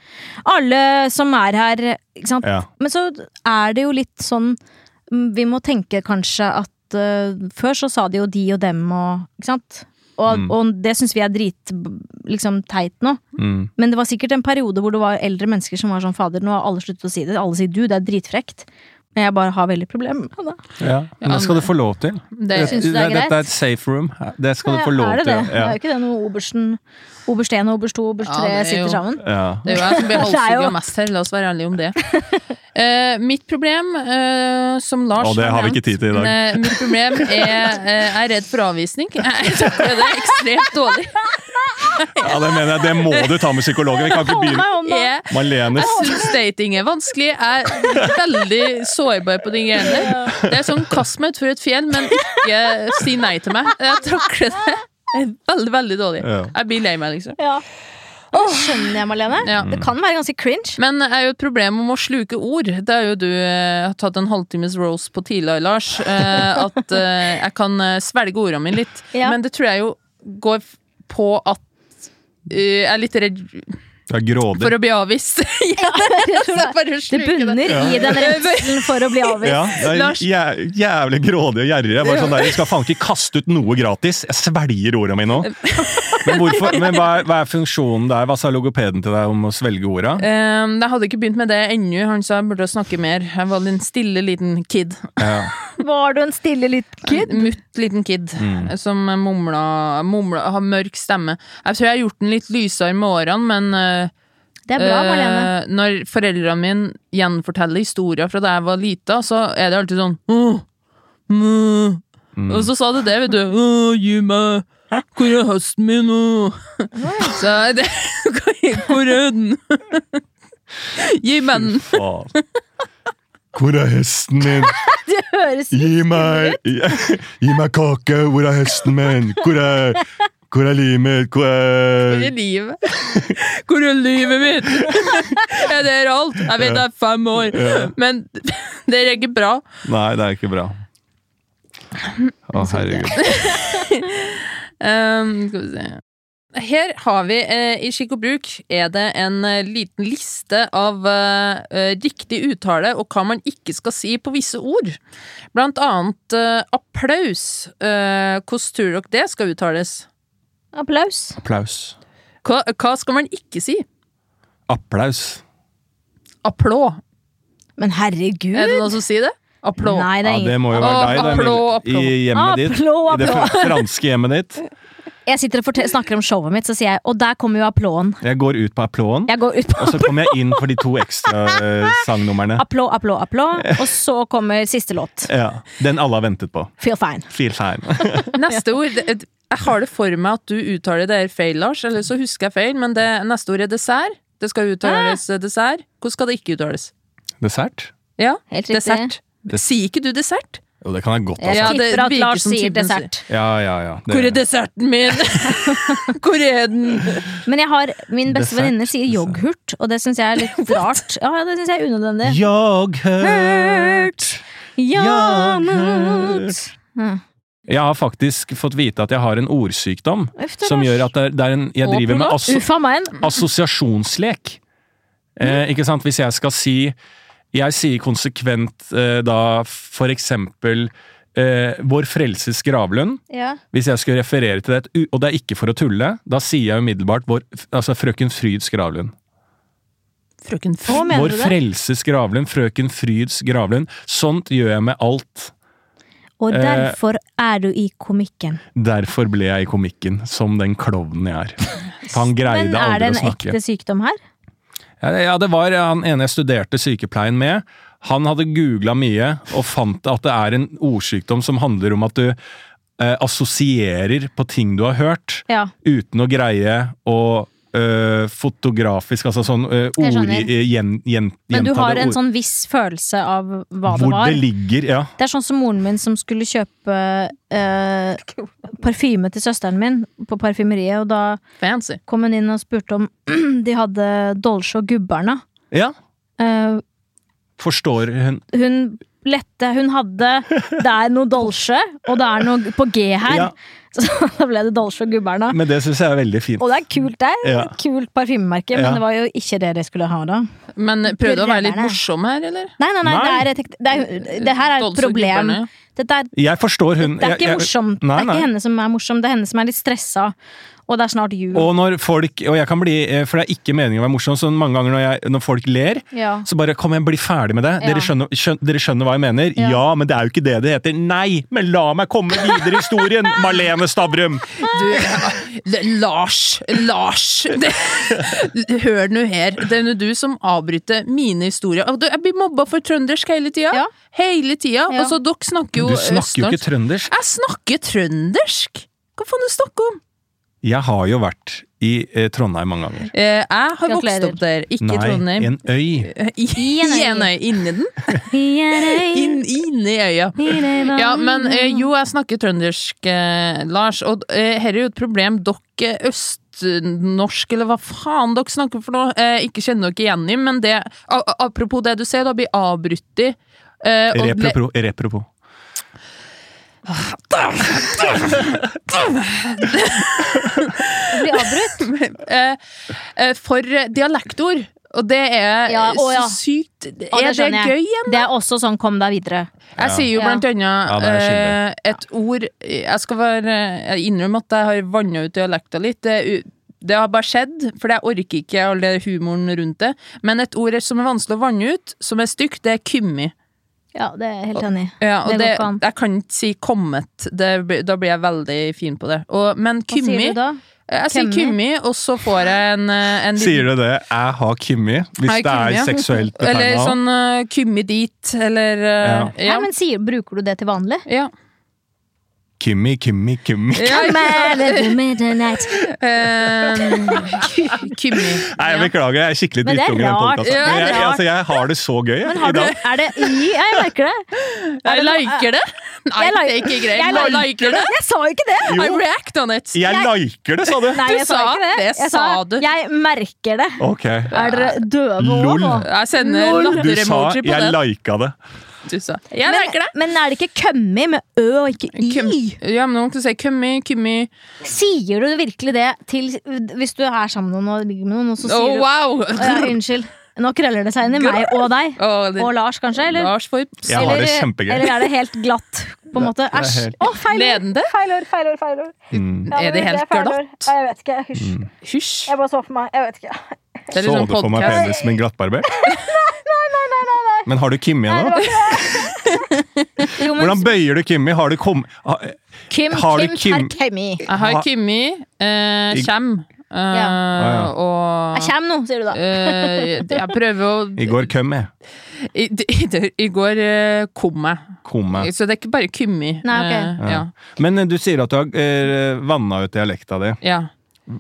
[SPEAKER 2] 'alle som er her' ikke sant?
[SPEAKER 3] Ja.
[SPEAKER 2] Men så er det jo litt sånn mm, Vi må tenke kanskje at eh, før så sa de jo 'de og dem' og Ikke sant? Og, og det syns vi er drit liksom, teit nå.
[SPEAKER 3] Mm.
[SPEAKER 2] Men det var sikkert en periode hvor det var eldre mennesker som var sånn 'fader, nå har alle sluttet å si det'. Alle sier 'du', det er dritfrekt. Men jeg bare har veldig problemer med det.
[SPEAKER 3] Ja. Men det skal du få lov til.
[SPEAKER 1] Det
[SPEAKER 2] synes du det er
[SPEAKER 3] Dette er et safe room. Det skal du få lov
[SPEAKER 2] er det det?
[SPEAKER 3] til.
[SPEAKER 2] Det er jo ikke det når obersten, oberst 1 og oberst 2 og oberst
[SPEAKER 1] Ja,
[SPEAKER 2] 3
[SPEAKER 1] det er jo-
[SPEAKER 2] sitter sammen?
[SPEAKER 3] Ja.
[SPEAKER 1] Det er jo jeg som blir
[SPEAKER 2] Det er jo-
[SPEAKER 1] halshugga mest her, la oss være ærlige om det. Eh, mitt problem, eh, som Lars
[SPEAKER 3] Å, det har vi ikke tid til i dag.
[SPEAKER 1] eh, mitt problem er eh, jeg er redd for avvisning. Jeg takler det ekstremt dårlig.
[SPEAKER 3] ja, det mener jeg. Det må du ta med psykologen. Vi kan ikke
[SPEAKER 2] Hold meg
[SPEAKER 3] begynne
[SPEAKER 2] i hånda!
[SPEAKER 1] Jeg,
[SPEAKER 3] Malene
[SPEAKER 1] jeg syns dating er vanskelig. Jeg er veldig sårbar på de greiene der. Det er sånn kast meg utfor et fjell, men ikke si nei til meg. Jeg takler det veldig, veldig dårlig.
[SPEAKER 3] Ja.
[SPEAKER 1] Jeg blir lei meg, liksom.
[SPEAKER 2] Ja. Og det skjønner jeg, Malene.
[SPEAKER 1] Ja.
[SPEAKER 2] Det kan være ganske cringe.
[SPEAKER 1] Men det er jo et problem om å sluke ord. Det er jo du eh, har tatt en halvtimes rose på tidligere, Lars. Eh, at eh, jeg kan eh, svelge ordene mine litt.
[SPEAKER 2] Ja.
[SPEAKER 1] Men det tror jeg jo går f- på at eh, jeg er litt redd
[SPEAKER 3] Du er
[SPEAKER 1] for
[SPEAKER 3] grådig.
[SPEAKER 1] å bli avvist. ja, bare
[SPEAKER 2] Altså, Det
[SPEAKER 1] sluker det.
[SPEAKER 2] bunner i den redselen for å bli avvist.
[SPEAKER 3] Ja, det er
[SPEAKER 1] Lars-
[SPEAKER 3] jæ jævlig grådig og gjerrig. Jeg er bare sånn der, jeg skal faen ikke kaste ut noe gratis. Jeg svelger ordene mine nå. Men, hvorfor, men hva, er, hva er funksjonen der? Hva sa logopeden til deg om å svelge orda?
[SPEAKER 1] Eh, jeg hadde ikke begynt med det ennå. Han sa jeg burde snakke mer. Jeg var en stille liten kid.
[SPEAKER 3] Ja.
[SPEAKER 2] Var du en stille liten kid?
[SPEAKER 1] En Mutt liten kid som mumla, mumla Har mørk stemme. Jeg tror jeg har gjort den litt lysere med årene, men eh,
[SPEAKER 2] Det er bra, Malene.
[SPEAKER 1] Eh, når foreldrene mine gjenforteller historier fra da jeg var lita, så er det alltid sånn «Åh, mø». Og så sa du det, vet du. «Åh, gi meg Hvor er høsten min nå? Så det, hvor er den? Gi meg den.
[SPEAKER 3] Faen. Hvor er hesten min?
[SPEAKER 2] Det høres
[SPEAKER 3] Gi meg, gi meg kake! Hvor er hesten min? Hvor er, hvor er limet? Hvor
[SPEAKER 1] Hvor
[SPEAKER 3] er
[SPEAKER 1] er livet? Hvor er livet mitt? Er det her alt? Jeg vet jeg er fem år, men det er ikke bra.
[SPEAKER 3] Nei, det er ikke bra. Å, herregud.
[SPEAKER 1] Um, Ehm, skal vi se Her har vi eh, i Skikk og bruk er det en eh, liten liste av eh, eh, riktig uttale og hva man ikke skal si på visse ord. Blant annet eh, applaus. Eh, hvordan tror dere det skal uttales?
[SPEAKER 2] Applaus.
[SPEAKER 3] Applaus.
[SPEAKER 1] Hva, hva skal man ikke si?
[SPEAKER 3] Applaus.
[SPEAKER 1] Applaud.
[SPEAKER 2] Men herregud!
[SPEAKER 1] Er det noen som sier det? Applaud.
[SPEAKER 2] Nei, det
[SPEAKER 3] Ja,
[SPEAKER 2] er ingen.
[SPEAKER 3] det må jo være
[SPEAKER 1] Å,
[SPEAKER 3] deg, da. Emilie.
[SPEAKER 1] applaud, applaud.
[SPEAKER 3] I hjemmet ditt.
[SPEAKER 2] Applaud,
[SPEAKER 3] I det fr- franske hjemmet ditt.
[SPEAKER 2] Jeg sitter og fortel- snakker om showet mitt, så sier jeg Og der kommer jo applåden.
[SPEAKER 3] Jeg går ut på applåden,
[SPEAKER 2] Jeg går ut på
[SPEAKER 3] og så kommer jeg inn for de to ekstra eh, sangnumrene.
[SPEAKER 2] applåd, applåd, applåd, og så kommer siste låt.
[SPEAKER 3] Ja, den alle har ventet på.
[SPEAKER 2] Feel fine.
[SPEAKER 3] Feel fine.
[SPEAKER 1] Neste ord det- det- Jeg har det for meg at du uttaler det her feil, Lars. Eller så husker jeg feil, men det, neste ord er dessert. Det skal
[SPEAKER 2] Ah.
[SPEAKER 1] uttales dessert. Hvordan skal det ikke uttales?
[SPEAKER 3] Dessert?
[SPEAKER 1] Ja,
[SPEAKER 2] Helt riktig.
[SPEAKER 1] dessert.
[SPEAKER 3] Des-
[SPEAKER 1] Sier ikke du dessert?
[SPEAKER 3] Jo, det kan jeg godt, altså.
[SPEAKER 1] Ja,
[SPEAKER 2] Jeg
[SPEAKER 1] det
[SPEAKER 2] tipper at
[SPEAKER 1] virker
[SPEAKER 2] Lars
[SPEAKER 1] som
[SPEAKER 2] sier
[SPEAKER 1] typen sier.
[SPEAKER 2] dessert.
[SPEAKER 3] Ja, ja, ja. Det-
[SPEAKER 1] Hvor er desserten min? Hvor er den?
[SPEAKER 2] Men jeg har, min beste
[SPEAKER 3] Dessert. altså.
[SPEAKER 2] venninne sier yoghurt, og det syns jeg er litt rart. Ja, det syns jeg er unødvendig.
[SPEAKER 3] Yoghurt.
[SPEAKER 2] Yoghurt.
[SPEAKER 3] Jeg har faktisk fått vite at jeg har en ordsykdom
[SPEAKER 2] Uff da,
[SPEAKER 3] som
[SPEAKER 2] Lars.
[SPEAKER 3] gjør at det er, det er en, jeg
[SPEAKER 1] Og
[SPEAKER 3] driver med
[SPEAKER 1] plakat.
[SPEAKER 3] asso
[SPEAKER 2] Uff a meg.
[SPEAKER 3] assosiasjonslek.
[SPEAKER 2] Mm.
[SPEAKER 3] Eh, ikke sant? Hvis jeg skal si Jeg sier konsekvent eh, da for eksempel eh, Vår Frelses gravlund.
[SPEAKER 2] Ja.
[SPEAKER 3] Hvis jeg skulle referere til det, et u- og det er ikke for å tulle, da sier jeg umiddelbart vår, altså Frøken Fryds gravlund.
[SPEAKER 1] Frøken
[SPEAKER 2] Hva
[SPEAKER 1] Fromm.
[SPEAKER 2] mener
[SPEAKER 3] Vår
[SPEAKER 2] du det?
[SPEAKER 3] Frelses gravlund, Frøken Fryds gravlund. Sånt gjør jeg med alt.
[SPEAKER 2] Og derfor er du i komikken.
[SPEAKER 3] Derfor ble Eh, jeg i komikken som den klovnen jeg er. For han
[SPEAKER 2] Men
[SPEAKER 3] greide
[SPEAKER 2] er det
[SPEAKER 3] aldri å
[SPEAKER 2] en
[SPEAKER 3] snakke.
[SPEAKER 2] ekte sykdom her?
[SPEAKER 3] Ja, det- ja, det var eh, han ene jeg studerte sykepleien med. Han hadde googla mye og fant at det er en ordsykdom som handler om at du eh, assosierer på ting du har hørt,
[SPEAKER 2] Ja.
[SPEAKER 3] uten å greie å eh, fotografisk, altså sånn eh,
[SPEAKER 2] Jeg
[SPEAKER 3] ord,
[SPEAKER 2] skjønner.
[SPEAKER 3] eh, gjen, gjen,
[SPEAKER 2] Men du
[SPEAKER 3] gjentatte
[SPEAKER 2] har en
[SPEAKER 3] ord.
[SPEAKER 2] sånn viss følelse av hva det
[SPEAKER 3] Hvor
[SPEAKER 2] var?
[SPEAKER 3] det ligger, ja.
[SPEAKER 2] Det er sånn som moren min som skulle kjøpe eh, parfyme til søsteren min på parfymeriet, og da
[SPEAKER 1] Fancy.
[SPEAKER 2] kom hun inn og spurte om de hadde Dolce og Gubberna.
[SPEAKER 3] ja.
[SPEAKER 2] Eh,
[SPEAKER 3] Forstår hun
[SPEAKER 2] hun lette Hun hadde Det er noe Dolce, og det er noe på G her.
[SPEAKER 3] Ja.
[SPEAKER 2] Så da ble det Dolce og Gubberna.
[SPEAKER 3] Men det syns jeg er veldig fint.
[SPEAKER 2] Og det er kult, det. er
[SPEAKER 3] Ja.
[SPEAKER 2] et Kult parfymemerke, men
[SPEAKER 3] Ja.
[SPEAKER 2] det var jo ikke det de skulle ha da.
[SPEAKER 1] Men prøvde å være litt
[SPEAKER 2] Gurrerne.
[SPEAKER 1] morsom her, eller?
[SPEAKER 2] Nei, nei, nei,
[SPEAKER 3] Nei.
[SPEAKER 2] Det, er et, det, er, det her er et
[SPEAKER 1] Dolce
[SPEAKER 2] problem.
[SPEAKER 1] gubberne.
[SPEAKER 2] Dette er
[SPEAKER 3] Jeg forstår hun.
[SPEAKER 2] Det er
[SPEAKER 3] Jeg-
[SPEAKER 2] ikke
[SPEAKER 3] jeg-
[SPEAKER 2] morsomt.
[SPEAKER 3] Nei,
[SPEAKER 2] det er
[SPEAKER 3] nei.
[SPEAKER 2] ikke henne som er morsom, det er henne som er litt stressa. Og det er snart jul.
[SPEAKER 3] Og når folk, og jeg kan bli, eh, for det er ikke meningen å være morsom, så mange ganger når, jeg, når folk ler,
[SPEAKER 2] Ja.
[SPEAKER 3] så bare kom igjen, bli ferdig med det.
[SPEAKER 2] Ja.
[SPEAKER 3] Dere, skjønner, skjøn, dere skjønner hva jeg mener?
[SPEAKER 2] Ja.
[SPEAKER 3] Ja. men det er jo ikke det det heter. Nei, men la meg komme videre i historien, Malene Stavrum!
[SPEAKER 1] Du, det- Lars! Lars! Det, hør nå her. Det er nå du som avbryter mine historier. Og du, Jeg blir mobba for trøndersk hele tida.
[SPEAKER 2] Ja.
[SPEAKER 1] Hele tida.
[SPEAKER 2] Ja.
[SPEAKER 1] Og så dere snakker jo
[SPEAKER 3] Du snakker jo
[SPEAKER 1] østnorsk.
[SPEAKER 3] ikke trøndersk.
[SPEAKER 1] Jeg snakker trøndersk! Hva faen du snakker om?
[SPEAKER 3] Jeg har jo vært i eh, Trondheim mange ganger.
[SPEAKER 1] Eh, jeg har vokst
[SPEAKER 2] Gratulerer.
[SPEAKER 1] opp der, ikke i
[SPEAKER 3] Nei,
[SPEAKER 1] Trondheim. Eh,
[SPEAKER 3] en øy.
[SPEAKER 1] I en
[SPEAKER 2] I
[SPEAKER 1] øy.
[SPEAKER 2] en øy.
[SPEAKER 1] Inni den? Inn, inni øya. Ja, men eh, jo, jeg snakker trøndersk, eh, Lars, og eh, her er jo et problem dere østnorsk, eller hva faen dere snakker for noe, eh, ikke kjenner dere igjen i, men det, a a- apropos det du sier, da blir avbrutt i. eh, og ble-
[SPEAKER 3] Repropro. repropro.
[SPEAKER 2] Det blir avbrutt.
[SPEAKER 1] eh, eh, for dialektord, og det er
[SPEAKER 2] Ja, å ja.
[SPEAKER 1] så sykt.
[SPEAKER 2] Og
[SPEAKER 1] er det
[SPEAKER 2] skjønner jeg.
[SPEAKER 1] gøy igjen?
[SPEAKER 2] Det er også sånn kom deg videre.
[SPEAKER 1] Jeg
[SPEAKER 3] Ja.
[SPEAKER 1] sier jo
[SPEAKER 2] Ja.
[SPEAKER 1] blant annet
[SPEAKER 3] Ja, det er skyldig.
[SPEAKER 1] eh, et ord Jeg skal være, jeg innrømmer at jeg har vanna ut dialekta litt. Det, er u- det har bare skjedd, for jeg orker ikke all den humoren rundt det. Men et ord som er vanskelig å vanne ut, som er stygt, det er kymmi.
[SPEAKER 2] Ja, det er jeg helt enig. i.
[SPEAKER 1] Ja, og
[SPEAKER 2] Det går
[SPEAKER 1] det,
[SPEAKER 2] ikke an.
[SPEAKER 1] jeg kan ikke si kommet. Det, blir- da blir jeg veldig fin på det. Og, men
[SPEAKER 2] Hva
[SPEAKER 1] kymmi
[SPEAKER 2] sier du da?
[SPEAKER 1] Jeg sier kymmi, og så får jeg en, eh, en
[SPEAKER 3] Sier du det? Jeg har Kimmi, hvis
[SPEAKER 1] Jeg
[SPEAKER 3] det
[SPEAKER 1] har
[SPEAKER 3] er
[SPEAKER 1] Kimmi, ja.
[SPEAKER 3] seksuelt
[SPEAKER 1] Eller
[SPEAKER 3] betegna.
[SPEAKER 1] sånn eh, kymmi dit, eller eh,
[SPEAKER 2] Nei,
[SPEAKER 1] Ja.
[SPEAKER 2] men sier, Bruker du det til vanlig?
[SPEAKER 1] ja.
[SPEAKER 3] Kimmi, Kimmi, Kimmi.
[SPEAKER 1] ja.
[SPEAKER 2] Come out of the midnight. Ehm,
[SPEAKER 1] eh, kymmi.
[SPEAKER 3] Nei, jeg
[SPEAKER 1] Ja.
[SPEAKER 3] beklager, jeg er skikkelig
[SPEAKER 2] Men det er
[SPEAKER 3] drittunge i den
[SPEAKER 2] rart.
[SPEAKER 3] podkasten.
[SPEAKER 1] Ja, det er
[SPEAKER 3] Jeg,
[SPEAKER 2] rart.
[SPEAKER 3] altså, jeg har det så gøy jeg,
[SPEAKER 2] Men har
[SPEAKER 3] i
[SPEAKER 2] du,
[SPEAKER 3] dag.
[SPEAKER 2] er det i? Jeg liker det.
[SPEAKER 1] Jeg liker det. Nei, det
[SPEAKER 2] Jeg like-
[SPEAKER 1] er ikke greit.
[SPEAKER 2] Jeg
[SPEAKER 1] Jeg liker det.
[SPEAKER 2] Jeg sa jo ikke det!
[SPEAKER 1] I
[SPEAKER 3] Jo.
[SPEAKER 1] react on it.
[SPEAKER 3] Jeg liker det, sa du!
[SPEAKER 2] Nei,
[SPEAKER 1] Du
[SPEAKER 2] jeg sa
[SPEAKER 1] sa
[SPEAKER 2] ikke det.
[SPEAKER 1] det,
[SPEAKER 2] Jeg sa
[SPEAKER 1] sa du.
[SPEAKER 2] jeg merker det.
[SPEAKER 3] Ok.
[SPEAKER 2] Er dere døve
[SPEAKER 3] Lol.
[SPEAKER 2] òg nå?
[SPEAKER 1] Jeg sender
[SPEAKER 2] Lol.
[SPEAKER 3] Du sa
[SPEAKER 1] latter-emoji på
[SPEAKER 3] 'jeg
[SPEAKER 1] den.
[SPEAKER 3] lika det'.
[SPEAKER 1] Du sa Jeg liker det.
[SPEAKER 2] men er det ikke kømmi med ø og ikke y?
[SPEAKER 1] Køm, ja, men noen kan si kømmi, kummi
[SPEAKER 2] Sier du virkelig det til Hvis du er sammen med noen og ligger med noen, og så
[SPEAKER 1] Å,
[SPEAKER 2] sier
[SPEAKER 1] Oh,
[SPEAKER 2] du
[SPEAKER 1] wow!
[SPEAKER 2] Å, ja, Unnskyld. Nå krøller det seg inn i meg og deg.
[SPEAKER 1] Å, det-
[SPEAKER 2] Og Lars, kanskje? Eller,
[SPEAKER 1] Lars får
[SPEAKER 3] Jeg har det kjempegøy.
[SPEAKER 2] eller er det helt glatt? På en måte.
[SPEAKER 3] er
[SPEAKER 2] Æsj.
[SPEAKER 3] helt-
[SPEAKER 2] Å, feil ord!
[SPEAKER 1] ledende.
[SPEAKER 4] Feil ord, feil ord, feil ord.
[SPEAKER 3] Mm.
[SPEAKER 4] Ja,
[SPEAKER 1] Er
[SPEAKER 4] men
[SPEAKER 1] det helt
[SPEAKER 4] feil ord.
[SPEAKER 1] glatt?
[SPEAKER 4] Ja, jeg vet ikke. Hysj.
[SPEAKER 1] Hysj.
[SPEAKER 4] Jeg bare så for meg. Jeg vet ikke.
[SPEAKER 1] Det er litt
[SPEAKER 3] Så
[SPEAKER 1] sånn
[SPEAKER 3] du for meg
[SPEAKER 1] podcast.
[SPEAKER 3] penisen min glattbarbert? Men har du Kimmi
[SPEAKER 4] Nei, det
[SPEAKER 3] ennå?
[SPEAKER 4] var ikke det.
[SPEAKER 2] Jo, men
[SPEAKER 3] Hvordan bøyer du Kimmi? Har du kom... ha-
[SPEAKER 2] Kim,
[SPEAKER 3] har du
[SPEAKER 2] Kim,
[SPEAKER 3] Kim-
[SPEAKER 2] Kim. Kimmi.
[SPEAKER 1] Jeg har
[SPEAKER 3] Ha-
[SPEAKER 1] Kimmi, eh,
[SPEAKER 3] I-
[SPEAKER 1] Kjem eh,
[SPEAKER 3] Ja.
[SPEAKER 2] Jeg
[SPEAKER 1] og
[SPEAKER 2] kjem nå, sier du da.
[SPEAKER 1] eh, Jeg prøver å
[SPEAKER 3] I går køm jeg.
[SPEAKER 1] I, i, i går eh, kom jeg.
[SPEAKER 3] Kom jeg.
[SPEAKER 1] Så det er ikke bare Kummi.
[SPEAKER 2] Nei, ok.
[SPEAKER 1] Eh, ja.
[SPEAKER 3] Men eh, du sier at du har eh, vanna ut dialekta di.
[SPEAKER 1] Ja.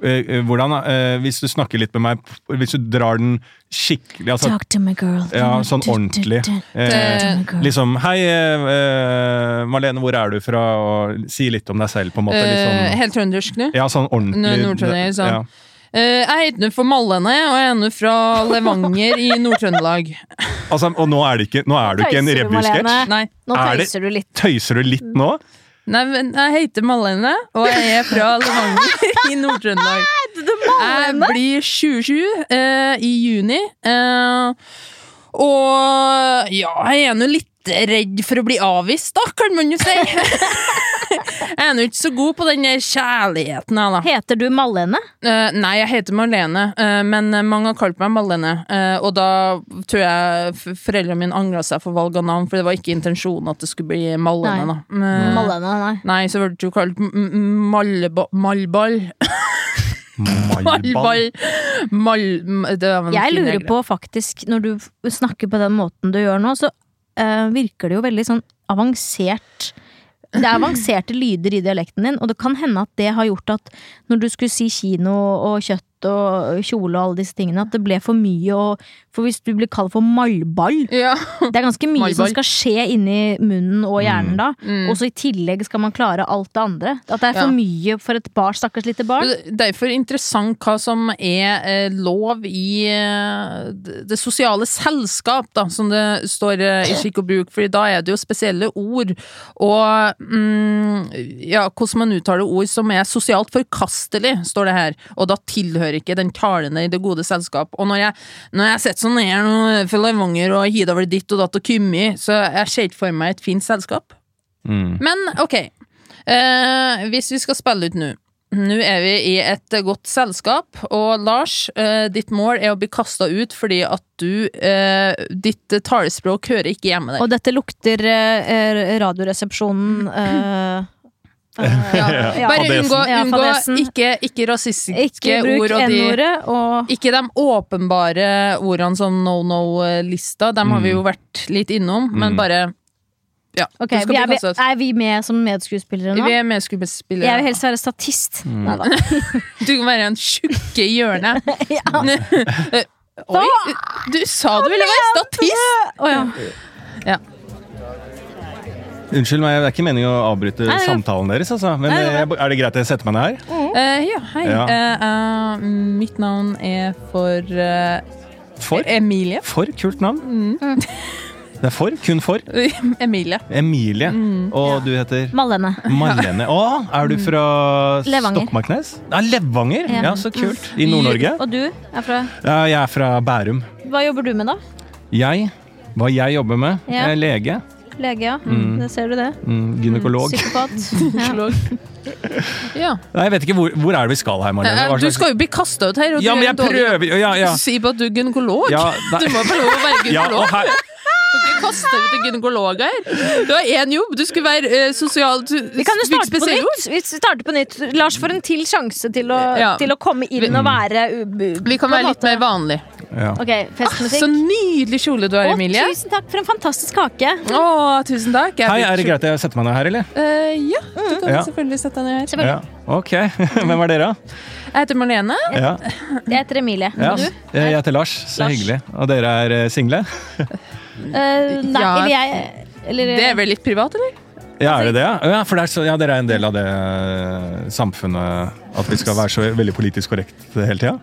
[SPEAKER 3] Eh, eh, Hvordan, eh, hvis du snakker litt med meg, hvis du drar den skikkelig altså,
[SPEAKER 2] Talk to my girl.
[SPEAKER 3] Ja, sånn ordentlig. Eh, liksom Hei, eh, eh, Marlene, hvor er du fra? Og si litt om deg selv, på en måte.
[SPEAKER 1] Eh,
[SPEAKER 3] Litt sånn,
[SPEAKER 1] helt trøndersk nå.
[SPEAKER 3] ja, sånn ordentlig.
[SPEAKER 1] Nordtrønder, sånn.
[SPEAKER 3] Ja.
[SPEAKER 1] Eh, jeg heter nå for Mallene, og jeg er nå fra Levanger i Nord-Trøndelag.
[SPEAKER 3] Altså, og nå er, det ikke, nå er du ikke
[SPEAKER 2] Tøyser
[SPEAKER 3] en
[SPEAKER 2] du,
[SPEAKER 3] revysketsj.
[SPEAKER 2] Marlene?
[SPEAKER 1] Nei.
[SPEAKER 2] Nå
[SPEAKER 3] Er det-
[SPEAKER 2] tøyser du litt.
[SPEAKER 3] Tøyser du litt nå?
[SPEAKER 1] Nei, men jeg heter Malene, og jeg er fra Levanger i Nord-Trøndelag. Jeg blir 27 eh, i juni, eh, og ja, jeg er nå litt redd for å bli avvist, da, kan man jo si. jeg er nå ikke så god på den der kjærligheten, jeg, da.
[SPEAKER 2] Heter du Malene?
[SPEAKER 1] Eh, nei, jeg heter Marlene, eh, men mange har kalt meg Malene. eh, og da tror jeg f- foreldrene mine angra seg for valg av navn, for det var ikke intensjonen at det skulle bli Malene.
[SPEAKER 2] Nei. Mm.
[SPEAKER 1] da. Men-
[SPEAKER 2] Malene, nei.
[SPEAKER 1] Nei, så ble du kalt m- m- malleba- Mallball. Mallball. Mall... m- det var noen
[SPEAKER 2] Jeg
[SPEAKER 1] fine
[SPEAKER 2] lurer
[SPEAKER 1] regler.
[SPEAKER 2] på faktisk, når du f- snakker på den måten du gjør nå, så eh, virker det jo veldig sånn avansert Det er avanserte lyder i dialekten din, og det kan hende at det har gjort at når du skulle si kino og kjøtt og kjole og alle disse tingene, at det ble for mye og For hvis du blir kalt for mallball
[SPEAKER 1] ja.
[SPEAKER 2] Det er ganske mye som
[SPEAKER 1] Mallball.
[SPEAKER 2] skal skje inni munnen og hjernen da, og så i tillegg skal man klare alt det andre. At det er for
[SPEAKER 1] Mm. Ja.
[SPEAKER 2] mye for et barn, stakkars lite barn.
[SPEAKER 1] Derfor interessant hva som er eh, lov i eh, det det sosiale selskap, da, som det står eh, i skikk og bruk, Fordi da er det jo spesielle ord. Og mm, ja, hvordan man uttaler ord som er sosialt forkastelig, står det her. Og da tilhører ikke den talende i det gode selskap. Og når jeg, når jeg sitter sånn her nå fra Levanger og hiver over ditt og datt og kummi, så jeg ser ikke for meg et fint selskap.
[SPEAKER 3] Mm.
[SPEAKER 1] Men ok, eh, hvis vi skal spille ut nå Nå er vi i et eh, godt selskap, og Lars, eh, ditt mål er å bli kasta ut fordi at du eh, Ditt eh, talespråk hører ikke hjemme der.
[SPEAKER 2] Og dette lukter eh, eh, Radioresepsjonen eh, eh,
[SPEAKER 1] Ja.
[SPEAKER 2] ja.
[SPEAKER 1] Bare
[SPEAKER 3] fadesen.
[SPEAKER 1] unngå,
[SPEAKER 2] Ja,
[SPEAKER 1] unngå
[SPEAKER 2] fadesen.
[SPEAKER 1] ikke, ikke rasistiske
[SPEAKER 2] sånn. Ikke bruk
[SPEAKER 1] ord og de
[SPEAKER 2] N-ordet og
[SPEAKER 1] ikke de åpenbare ordene som no no-lista, dem har vi jo vært litt innom,
[SPEAKER 3] Mm.
[SPEAKER 1] men bare Ja,
[SPEAKER 2] Ok,
[SPEAKER 1] du skal
[SPEAKER 2] vi
[SPEAKER 1] bli
[SPEAKER 2] er,
[SPEAKER 1] kasta ut.
[SPEAKER 2] er vi med som medskuespillere nå?
[SPEAKER 1] Vi er
[SPEAKER 2] Jeg vil
[SPEAKER 1] medskuespillere.
[SPEAKER 2] helst være statist.
[SPEAKER 3] Mm.
[SPEAKER 2] Neida.
[SPEAKER 1] Du kan være en tjukke i hjørnet.
[SPEAKER 2] Ja.
[SPEAKER 1] Eh, Oi, du sa du ville være statist!
[SPEAKER 2] Å, ja.
[SPEAKER 3] Unnskyld meg, det er ikke meningen å avbryte
[SPEAKER 2] Nei, det går-
[SPEAKER 3] samtalen deres, altså. Men
[SPEAKER 2] Nei, det går
[SPEAKER 3] eh, er det greit at jeg setter meg ned her?
[SPEAKER 1] Eh, ja, hei.
[SPEAKER 3] Ja.
[SPEAKER 1] Eh, eh, mitt navn er for eh,
[SPEAKER 3] For?
[SPEAKER 1] Emilie.
[SPEAKER 3] For kult navn. Det er for. Kun for.
[SPEAKER 1] Emilie.
[SPEAKER 3] Emilie. Og du heter?
[SPEAKER 2] Malene.
[SPEAKER 3] Marlene. Å, er du fra
[SPEAKER 2] Levanger.
[SPEAKER 3] Stokmarknes? Ja, Levanger!
[SPEAKER 2] Ja.
[SPEAKER 3] Ja, så kult. I Nord-Norge.
[SPEAKER 2] Og du er fra
[SPEAKER 3] Ja, jeg er fra Bærum.
[SPEAKER 2] Hva jobber du med, da?
[SPEAKER 3] Jeg, hva jeg jobber med,
[SPEAKER 2] Ja.
[SPEAKER 3] er lege,
[SPEAKER 2] Lege, ja. Det ser du det.
[SPEAKER 3] mm, gynekolog.
[SPEAKER 2] Psykopat. Ja.
[SPEAKER 1] Ja.
[SPEAKER 3] Nei, jeg vet ikke, hvor, hvor er det vi skal her, Marlene?
[SPEAKER 1] Eh,
[SPEAKER 3] Hva
[SPEAKER 1] du
[SPEAKER 3] slags-
[SPEAKER 1] skal jo bli kasta ut her. og
[SPEAKER 3] Ja,
[SPEAKER 1] du
[SPEAKER 3] men
[SPEAKER 1] er
[SPEAKER 3] jeg
[SPEAKER 1] en dårlig-
[SPEAKER 3] prøver! Ja, ja.
[SPEAKER 1] Du sier bare at du er gynekolog.
[SPEAKER 3] ja
[SPEAKER 1] Du
[SPEAKER 3] nei.
[SPEAKER 1] må få lov å være
[SPEAKER 3] Ja, og
[SPEAKER 1] gynekolog.
[SPEAKER 3] her,
[SPEAKER 1] Du kan ikke kaste ut en gynekolog her. Du har én jobb. Du skulle være eh, sosial
[SPEAKER 2] Vi kan jo starte på nytt. Vi starter på nytt. Lars får en til sjanse til å,
[SPEAKER 1] Ja.
[SPEAKER 2] til å komme inn og være u-
[SPEAKER 1] Vi kan
[SPEAKER 2] på en
[SPEAKER 1] være litt
[SPEAKER 2] måte.
[SPEAKER 1] mer vanlig.
[SPEAKER 3] ja.
[SPEAKER 2] Ok, festmusikk.
[SPEAKER 1] Så nydelig kjole du har,
[SPEAKER 2] Å,
[SPEAKER 1] Emilie.
[SPEAKER 2] tusen takk for en fantastisk kake.
[SPEAKER 1] Å, tusen takk. Jeg
[SPEAKER 3] Hei,
[SPEAKER 1] blir
[SPEAKER 3] er det
[SPEAKER 1] kjole-
[SPEAKER 3] greit at jeg setter meg ned her, eller?
[SPEAKER 1] Eh, ja, du kan
[SPEAKER 3] Ja.
[SPEAKER 1] selvfølgelig sette deg ned her.
[SPEAKER 2] Selvfølgelig.
[SPEAKER 3] Ok. Hvem er dere, da?
[SPEAKER 1] Jeg heter Marlene.
[SPEAKER 3] Ja.
[SPEAKER 2] Jeg heter Emilie.
[SPEAKER 3] Ja.
[SPEAKER 2] Og Du?
[SPEAKER 3] Jeg heter Lars. Så
[SPEAKER 2] Lars.
[SPEAKER 3] hyggelig. Og dere er eh, single?
[SPEAKER 2] Eh, nei,
[SPEAKER 1] Ja.
[SPEAKER 2] eller jeg eller,
[SPEAKER 1] Det er vel litt privat, eller?
[SPEAKER 3] Ja, er det det? ja? Ja, for det er så, ja, dere er en del av det eh, samfunnet at vi skal være så veldig politisk korrekt hele tida?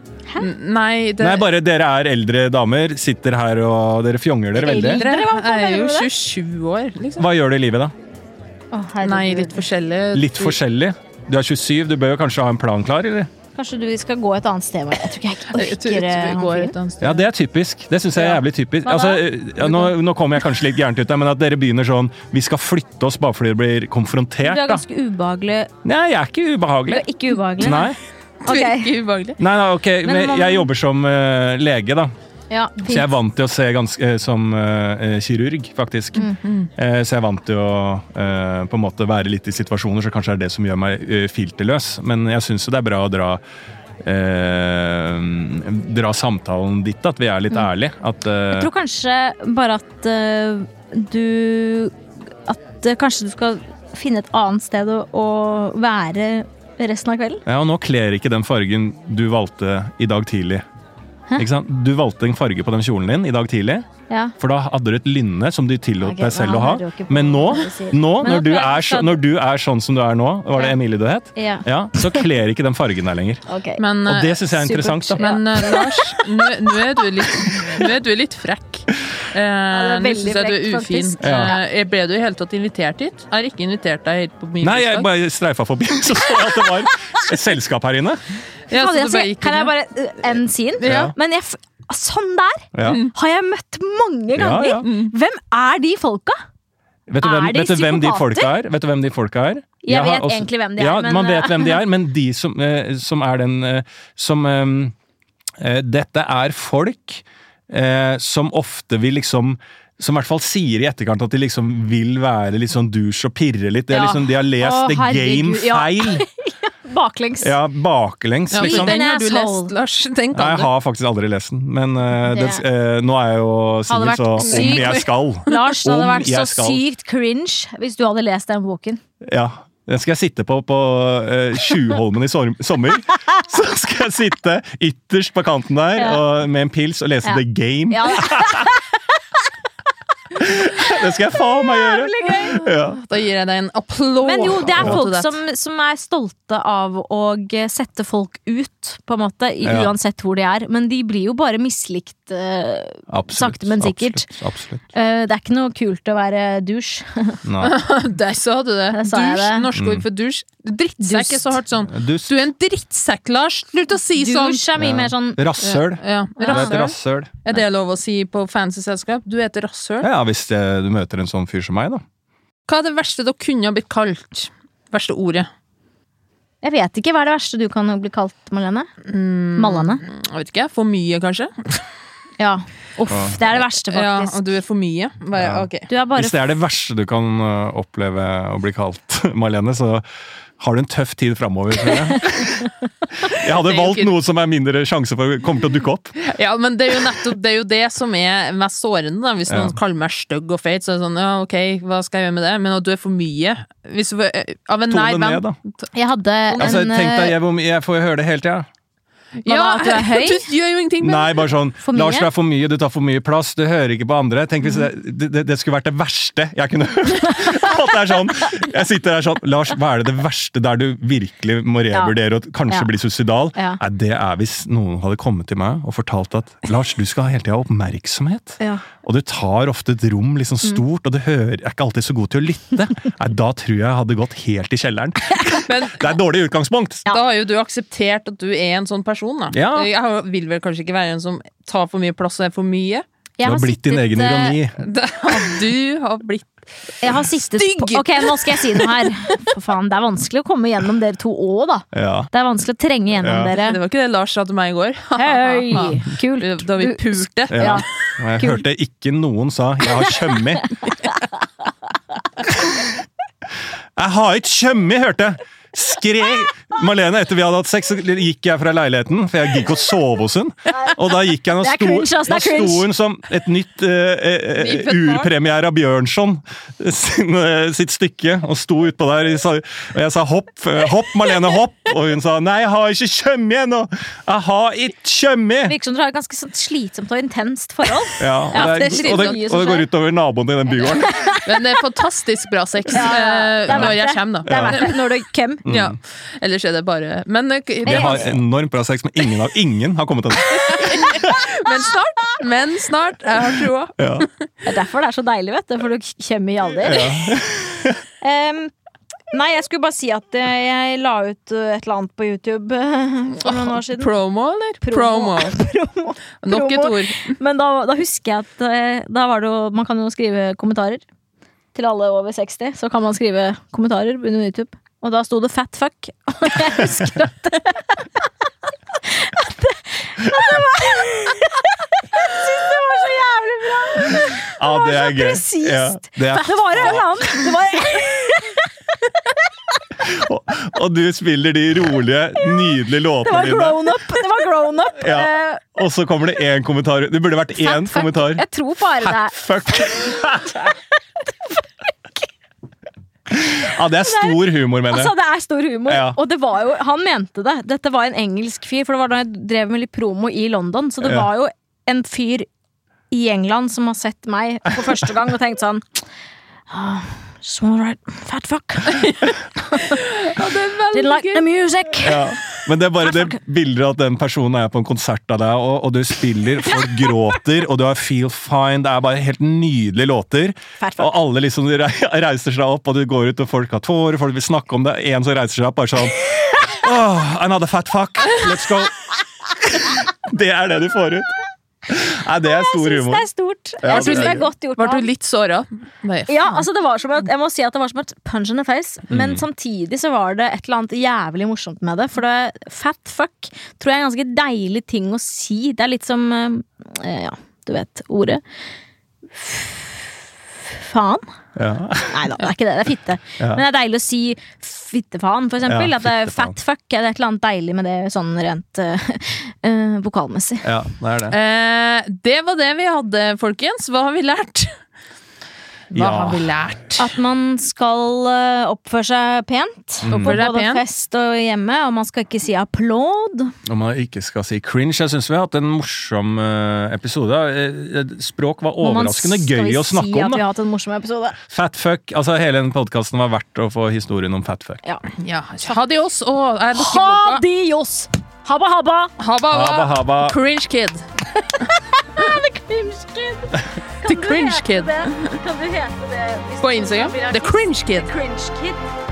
[SPEAKER 1] Nei, det
[SPEAKER 3] Nei, bare dere er eldre damer, sitter her og dere fjonger dere veldig.
[SPEAKER 1] Eldre
[SPEAKER 2] hva faen
[SPEAKER 1] er jo
[SPEAKER 2] mener du det?
[SPEAKER 1] 27 år, liksom.
[SPEAKER 3] Hva gjør du i livet, da?
[SPEAKER 2] Å, herregud.
[SPEAKER 1] Nei, litt forskjellig.
[SPEAKER 3] Litt forskjellig. Du er 27, du bør jo kanskje ha en plan klar, eller?
[SPEAKER 2] Kanskje du skal gå et annet sted? Mari. Jeg tror ikke jeg
[SPEAKER 1] Jeg tror- jeg
[SPEAKER 2] orker eh,
[SPEAKER 1] tror vi
[SPEAKER 2] han
[SPEAKER 1] går
[SPEAKER 2] fyren.
[SPEAKER 1] et annet sted.
[SPEAKER 3] Ja, det er typisk. Det syns jeg er jævlig typisk.
[SPEAKER 2] Hva da?
[SPEAKER 3] Altså, ja, nå, nå kommer jeg kanskje litt gærent ut, der, men at dere begynner sånn Vi skal flytte oss bare fordi dere blir konfrontert,
[SPEAKER 2] Du er
[SPEAKER 3] da.
[SPEAKER 2] ganske ubehagelig.
[SPEAKER 3] Nei, jeg er ikke
[SPEAKER 2] Du
[SPEAKER 3] ubehagelig.
[SPEAKER 2] er ikke ubehagelig.
[SPEAKER 3] Nei,
[SPEAKER 2] Ok.
[SPEAKER 1] Virker ubehagelig.
[SPEAKER 3] nei, nei ok.
[SPEAKER 2] Men
[SPEAKER 3] Men
[SPEAKER 2] man-
[SPEAKER 3] jeg jobber som eh, lege, da.
[SPEAKER 2] Ja, fint.
[SPEAKER 3] Så jeg er vant til å se ganske eh, som eh, eh, kirurg, faktisk.
[SPEAKER 2] Mm,
[SPEAKER 3] Eh, så jeg er vant til å eh, på en måte være litt i situasjoner, så kanskje det er det som gjør meg eh, filterløs. Men jeg syns jo det er bra å dra eh, dra samtalen dit, at vi er litt
[SPEAKER 2] Mm.
[SPEAKER 3] ærlige. At eh,
[SPEAKER 2] Jeg tror kanskje bare at eh, du At eh, kanskje du skal finne et annet sted å, å være resten av kvelden.
[SPEAKER 3] Ja, og nå kler ikke den fargen du valgte i dag tidlig. Ikke sant? Du valgte en farge på den kjolen din i dag tidlig,
[SPEAKER 2] Ja.
[SPEAKER 3] for da hadde du et lynne som du tillot
[SPEAKER 2] Ok,
[SPEAKER 3] deg selv
[SPEAKER 2] men
[SPEAKER 3] å
[SPEAKER 2] han
[SPEAKER 3] ha.
[SPEAKER 2] hører jo ikke på
[SPEAKER 3] Men nå,
[SPEAKER 2] hva du sier.
[SPEAKER 3] nå
[SPEAKER 2] Men
[SPEAKER 3] når,
[SPEAKER 2] nå
[SPEAKER 3] du
[SPEAKER 2] tror jeg
[SPEAKER 3] er,
[SPEAKER 2] ikke
[SPEAKER 3] så,
[SPEAKER 2] at-
[SPEAKER 3] når du er sånn som du er nå, var det
[SPEAKER 2] Ja.
[SPEAKER 3] Emilie du het?
[SPEAKER 2] Ja.
[SPEAKER 3] Ja, så kler ikke den fargen deg lenger.
[SPEAKER 2] Ok.
[SPEAKER 1] Men,
[SPEAKER 3] Og det
[SPEAKER 1] eh,
[SPEAKER 3] syns jeg er interessant. da.
[SPEAKER 1] men eh, Lars, nå nå er du litt, nå er du litt frekk. Eh,
[SPEAKER 2] Ja, det er
[SPEAKER 1] nå
[SPEAKER 2] veldig
[SPEAKER 1] syns jeg du er
[SPEAKER 2] frekk,
[SPEAKER 1] ufin.
[SPEAKER 2] faktisk.
[SPEAKER 3] Ja.
[SPEAKER 1] Eh, jeg ble du i hele tatt invitert hit? Jeg har ikke invitert deg hit på min
[SPEAKER 3] Nei,
[SPEAKER 1] bursdag.
[SPEAKER 3] jeg bare streifa forbi, så så jeg at det var et selskap her inne.
[SPEAKER 1] Ja, så
[SPEAKER 2] Fader,
[SPEAKER 1] du
[SPEAKER 2] jeg
[SPEAKER 1] bare
[SPEAKER 2] sier-
[SPEAKER 1] gikk
[SPEAKER 2] kan jeg
[SPEAKER 1] inn, ja.
[SPEAKER 2] bare eh, end scene?
[SPEAKER 3] Ja.
[SPEAKER 2] Men jeg, f- sånn der
[SPEAKER 3] Ja.
[SPEAKER 2] har jeg møtt mange
[SPEAKER 3] Ja,
[SPEAKER 2] ganger!
[SPEAKER 3] ja.
[SPEAKER 1] Mm.
[SPEAKER 2] Hvem er de folka?
[SPEAKER 3] Vet du,
[SPEAKER 2] Er
[SPEAKER 3] hvem,
[SPEAKER 2] de
[SPEAKER 3] vet, du hvem de
[SPEAKER 2] psykopater?
[SPEAKER 3] folka er? vet du hvem de folka er?
[SPEAKER 2] Jeg
[SPEAKER 3] har
[SPEAKER 2] vet egentlig hvem de er,
[SPEAKER 3] ja,
[SPEAKER 2] men- eh,
[SPEAKER 3] Man vet hvem de er, men de som, eh, som er den eh, som eh, eh, Dette er folk eh, som ofte vil liksom som i hvert fall sier i etterkant at de liksom vil være litt sånn douche og pirre litt. De, er
[SPEAKER 2] Ja.
[SPEAKER 3] liksom, de har lest
[SPEAKER 2] Å,
[SPEAKER 3] The Game
[SPEAKER 2] herregud, ja.
[SPEAKER 3] feil.
[SPEAKER 2] Baklengs.
[SPEAKER 3] Ja, baklengs,
[SPEAKER 1] Ja,
[SPEAKER 3] liksom.
[SPEAKER 1] for Den har du
[SPEAKER 2] Asshole.
[SPEAKER 1] lest, Lars. Den
[SPEAKER 3] Nei, jeg
[SPEAKER 1] kan du.
[SPEAKER 3] har faktisk aldri lest den, men eh,
[SPEAKER 2] Det-
[SPEAKER 3] den- eh, nå er jeg jo singel,
[SPEAKER 2] vært
[SPEAKER 3] så om
[SPEAKER 2] sykt-
[SPEAKER 3] jeg skal
[SPEAKER 2] Lars, det hadde
[SPEAKER 3] Om
[SPEAKER 2] vært så
[SPEAKER 3] jeg skal.
[SPEAKER 2] sykt cringe hvis du hadde lest den boken.
[SPEAKER 3] Ja. Den skal jeg sitte på på eh, Tjuvholmen i sor- sommer. Så skal jeg sitte ytterst på kanten der
[SPEAKER 2] Ja.
[SPEAKER 3] og, med en pils og lese
[SPEAKER 2] Ja.
[SPEAKER 3] The Game.
[SPEAKER 2] Ja,
[SPEAKER 3] Det skal jeg faen meg gjøre! Ja.
[SPEAKER 1] Da gir jeg deg en applaus.
[SPEAKER 2] Men jo, det er
[SPEAKER 1] Ja.
[SPEAKER 2] folk
[SPEAKER 1] til det.
[SPEAKER 2] som, som er stolte av å eh, sette folk ut, på en måte, i-
[SPEAKER 3] Ja.
[SPEAKER 2] uansett hvor de er. Men de blir jo bare mislikt. eh,
[SPEAKER 3] Absolutt.
[SPEAKER 2] Sakte, men sikkert.
[SPEAKER 3] Absolutt.
[SPEAKER 2] eh, det er ikke noe kult å være douche.
[SPEAKER 3] absolutt. Nei.
[SPEAKER 1] Der sa du det.
[SPEAKER 2] Der sa jeg
[SPEAKER 1] Dusj.
[SPEAKER 2] det.
[SPEAKER 1] Norske
[SPEAKER 3] Mm.
[SPEAKER 1] ord for dusj. Drittsekk er
[SPEAKER 2] Dust.
[SPEAKER 1] så hardt sånn.
[SPEAKER 3] Dust.
[SPEAKER 1] Du er en drittsekk, Lars! Slutt å si sånn!
[SPEAKER 2] Douche er mye mer sånn
[SPEAKER 3] eh, Rasshøl.
[SPEAKER 1] Ja.
[SPEAKER 3] Det er et
[SPEAKER 1] Rasshøl.
[SPEAKER 3] rasshøl.
[SPEAKER 1] Er det lov å si på fancy selskap? Du heter rasshøl.
[SPEAKER 3] Ja, hvis eh, du møter en sånn fyr som meg, da.
[SPEAKER 1] Hva er det verste dere kunne ha blitt kalt? Verste ordet?
[SPEAKER 2] Jeg vet ikke, hva er det verste du kan bli kalt, Malene?
[SPEAKER 1] Mm.
[SPEAKER 2] Malene?
[SPEAKER 1] Jeg vet ikke. For mye, kanskje?
[SPEAKER 2] Ja. Uff, det er det verste,
[SPEAKER 1] Ja, og
[SPEAKER 2] faktisk.
[SPEAKER 1] du er for mye. Bare,
[SPEAKER 3] Ja.
[SPEAKER 1] ok.
[SPEAKER 2] Du er bare
[SPEAKER 3] Hvis det er det verste du kan eh, oppleve å bli kalt, Marlene, så har du en tøff tid framover. Jeg. jeg hadde
[SPEAKER 1] er jo
[SPEAKER 3] valgt
[SPEAKER 1] ikke-
[SPEAKER 3] noe som er mindre sjanse for å komme til å dukke opp.
[SPEAKER 1] Ja, men det er jo nettopp det, er jo det som er mest sårende. Da. Hvis
[SPEAKER 3] Ja.
[SPEAKER 1] noen kaller meg stygg og feit, så er det sånn ja, ok, hva skal jeg gjøre med det? Men at du er for mye Hvis du, eh, av en nær
[SPEAKER 3] Tone
[SPEAKER 1] venn
[SPEAKER 3] ned, da.
[SPEAKER 2] Jeg hadde en
[SPEAKER 3] Altså, tenk deg,
[SPEAKER 2] eh,
[SPEAKER 3] jeg, hvor mye- jeg får jo høre det hele tida.
[SPEAKER 1] Ja,
[SPEAKER 2] Mamma, at du er høy?
[SPEAKER 1] du gjør jo ingenting med det.
[SPEAKER 3] Nei, bare sånn
[SPEAKER 2] eh, For mye? Mm.
[SPEAKER 3] Lars, du er for mye, du tar for mye plass, du hører ikke på andre. Tenk hvis det, det, det skulle vært det verste jeg kunne hørt. At det er sånn Jeg sitter der sånn Lars, hva er det det verste der du virkelig må revurdere og kanskje
[SPEAKER 2] Ja.
[SPEAKER 3] bli suicidal?
[SPEAKER 2] Ja.
[SPEAKER 3] Nei, det er hvis noen hadde kommet til meg og fortalt at Lars, du skal hele tida ha oppmerksomhet.
[SPEAKER 2] eh, Ja. Mm.
[SPEAKER 3] Og du tar ofte et rom litt sånn stort, og du hører, er ikke alltid så god til å lytte. Nei, da tror jeg jeg hadde gått helt i kjelleren.
[SPEAKER 1] Men
[SPEAKER 3] Det er et dårlig utgangspunkt.
[SPEAKER 1] da har jo du akseptert at du er en sånn person, da.
[SPEAKER 3] Ja.
[SPEAKER 1] Jeg har- vil vel kanskje ikke være en som tar for mye plass og er for mye.
[SPEAKER 2] jeg
[SPEAKER 3] Du har blitt din
[SPEAKER 2] sittet,
[SPEAKER 3] egen
[SPEAKER 2] eh,
[SPEAKER 3] ironi.
[SPEAKER 1] Det, du har blitt
[SPEAKER 2] Jeg har sittet på
[SPEAKER 1] Stygg!
[SPEAKER 2] Ok, nå skal jeg si noe her. For faen, det er vanskelig å komme gjennom dere to òg, da.
[SPEAKER 3] Ja.
[SPEAKER 2] Det er vanskelig å trenge gjennom
[SPEAKER 3] Ja.
[SPEAKER 1] Det
[SPEAKER 2] dere.
[SPEAKER 1] var ikke det Lars sa til meg i går.
[SPEAKER 2] Hei, kult.
[SPEAKER 1] Da vi
[SPEAKER 2] Du-
[SPEAKER 1] pulte.
[SPEAKER 3] Ja.
[SPEAKER 2] Ja.
[SPEAKER 3] Og jeg hørte ikke noen sa 'jeg har kjømmi'. Jeg har ikke kjømmi, hørte jeg! Skrek Marlene, etter vi hadde hatt sex, så gikk jeg fra leiligheten, for jeg gikk ikke å sove hos hun. Og da gikk jeg og
[SPEAKER 2] Det er
[SPEAKER 3] sto,
[SPEAKER 2] cringe, ass, det er
[SPEAKER 3] da sto
[SPEAKER 2] cringe.
[SPEAKER 3] hun som et nytt eh, eh,
[SPEAKER 1] Nyfødt barn.
[SPEAKER 3] urpremiere av Bjørnson sin, eh, sitt stykke, og sto utpå der. sa- Og jeg sa 'hopp, eh, hopp, Marlene, hopp', og hun sa 'nei, jeg har ikke kommet ennå'. Jeg har ikke kommet!
[SPEAKER 2] Virker som dere har et ganske sånn slitsomt og intenst forhold.
[SPEAKER 3] Ja, og,
[SPEAKER 1] Ja,
[SPEAKER 3] det,
[SPEAKER 1] det
[SPEAKER 3] er-
[SPEAKER 1] er
[SPEAKER 3] og, det,
[SPEAKER 1] mye som
[SPEAKER 3] og det går utover naboen i den bygården.
[SPEAKER 1] Men det er fantastisk bra sex
[SPEAKER 2] Ja, ja, ja. Det
[SPEAKER 1] eh,
[SPEAKER 2] er
[SPEAKER 1] når
[SPEAKER 2] verdt
[SPEAKER 1] jeg
[SPEAKER 2] det.
[SPEAKER 1] kommer,
[SPEAKER 2] Det
[SPEAKER 1] da.
[SPEAKER 2] er verdt det når du hvem.
[SPEAKER 1] Ja. Ellers er det bare Men, eh, k-
[SPEAKER 3] Mm. Jeg har enormt bra sex, men ingen av ingen har kommet ennå.
[SPEAKER 1] men snart! Men snart. Jeg har troa.
[SPEAKER 3] Ja.
[SPEAKER 2] Det er derfor det er så deilig, vet du. For du kommer i alder. Em, nei, jeg skulle bare si at eh, jeg la ut eh, et eller annet på YouTube eh, for noen år siden.
[SPEAKER 1] Promo, eller? Promo.
[SPEAKER 2] Promo. Promo.
[SPEAKER 1] Nok et
[SPEAKER 2] Promo.
[SPEAKER 1] ord.
[SPEAKER 2] Men da, da husker jeg at eh, da var det jo, man kan jo skrive kommentarer. Til alle over 60 så kan man skrive kommentarer under YouTube. Og da sto det 'fat fuck'. Og jeg husker at
[SPEAKER 3] Ja, det er gøy.
[SPEAKER 2] presist.
[SPEAKER 3] Ja, det er
[SPEAKER 2] det var en eller annen det var,
[SPEAKER 3] Og, og du spiller de rolige, nydelige
[SPEAKER 2] det
[SPEAKER 3] låtene
[SPEAKER 2] var
[SPEAKER 3] dine.
[SPEAKER 2] grown up! Det var grown up.
[SPEAKER 3] Ja.
[SPEAKER 2] Eh,
[SPEAKER 3] Og så kommer det én kommentar. Det burde vært én
[SPEAKER 2] fat fuck.
[SPEAKER 3] kommentar.
[SPEAKER 2] Jeg tror bare det er
[SPEAKER 3] Fuck! Ja, det er stor humor, mener
[SPEAKER 2] Altså,
[SPEAKER 3] jeg.
[SPEAKER 2] det er stor humor.
[SPEAKER 3] Ja.
[SPEAKER 2] Og det var jo, han mente det. Dette var en engelsk fyr, for det var da jeg drev med litt promo i London. Så det
[SPEAKER 3] Ja.
[SPEAKER 2] var jo en fyr i England som har sett meg for første gang og tenkt sånn «Ah, Just wanna write fat fuck.
[SPEAKER 1] Ja, det er
[SPEAKER 2] Didn't
[SPEAKER 1] veldig
[SPEAKER 2] like the
[SPEAKER 1] gøy.
[SPEAKER 2] music.
[SPEAKER 3] Ja. Men det er bare det bildet at den personen er på en konsert av deg, og, og du spiller, folk gråter, og du har Feel Fine, det er bare helt nydelige låter.
[SPEAKER 2] Fat
[SPEAKER 3] Og
[SPEAKER 2] fuck.
[SPEAKER 3] alle liksom re- reiser seg opp, og du går ut, og folk har tårer, folk vil snakke om det. En som reiser seg opp, bare sånn «Åh, Another fat fuck, let's go. Det er det du får ut. Nei, det er stor
[SPEAKER 2] Jeg syns
[SPEAKER 3] humor.
[SPEAKER 2] det er stort.
[SPEAKER 3] Ja,
[SPEAKER 2] jeg
[SPEAKER 3] det
[SPEAKER 2] syns
[SPEAKER 3] er
[SPEAKER 2] det
[SPEAKER 3] gøy.
[SPEAKER 2] er godt gjort.
[SPEAKER 1] Ble
[SPEAKER 2] av
[SPEAKER 1] du litt såra? Nei.
[SPEAKER 2] Ja, altså det var som et, jeg må si at det var som et punch in the face,
[SPEAKER 3] Mm.
[SPEAKER 2] men samtidig så var det et eller annet jævlig morsomt med det. For det, fat fuck tror jeg er en ganske deilig ting å si. Det er litt som eh, Ja, du vet ordet. F- Faen?
[SPEAKER 3] Ja.
[SPEAKER 2] Nei da, det er ikke det. Det er fitte.
[SPEAKER 3] Ja.
[SPEAKER 2] Men det er deilig å si fittefaen, for eksempel.
[SPEAKER 3] Ja,
[SPEAKER 2] at det er
[SPEAKER 3] fittefaen.
[SPEAKER 2] fat fuck. Det er et eller annet deilig med det sånn rent eh, eh, vokalmessig.
[SPEAKER 3] ja, det er det.
[SPEAKER 1] Eh, det var det vi hadde, folkens. Hva har vi lært? Hva
[SPEAKER 3] Ja.
[SPEAKER 1] har vi lært?
[SPEAKER 2] At man skal eh, oppføre seg pent.
[SPEAKER 3] Mm.
[SPEAKER 2] På
[SPEAKER 1] Oppføre deg
[SPEAKER 2] både
[SPEAKER 1] pent.
[SPEAKER 2] fest og hjemme, og man skal ikke si applaud.
[SPEAKER 3] Om man ikke skal si cringe, jeg syns vi har hatt en morsom eh, episode. Eh, Språk var
[SPEAKER 2] Må man-
[SPEAKER 3] overraskende
[SPEAKER 2] skal vi
[SPEAKER 3] gøy å
[SPEAKER 2] si
[SPEAKER 3] snakke
[SPEAKER 2] At vi
[SPEAKER 3] om. Da.
[SPEAKER 2] har hatt en morsom episode.
[SPEAKER 3] Fat fuck, altså Hele den podkasten var verdt å få historien om fat fuck.
[SPEAKER 2] Ja.
[SPEAKER 1] Ja. Ha det oss, og jeg lukker
[SPEAKER 2] Ha
[SPEAKER 1] boka.
[SPEAKER 2] de oss! Habba, habba!
[SPEAKER 1] Ha ba,
[SPEAKER 3] Haba,
[SPEAKER 1] ba.
[SPEAKER 3] haba.
[SPEAKER 1] Cringe kid. The cringe kid.
[SPEAKER 2] Kan du hete det? hvis
[SPEAKER 1] På
[SPEAKER 2] du
[SPEAKER 1] Instagram.
[SPEAKER 2] blir
[SPEAKER 1] The
[SPEAKER 2] artist?
[SPEAKER 1] cringe kid.
[SPEAKER 2] Cringe Kid.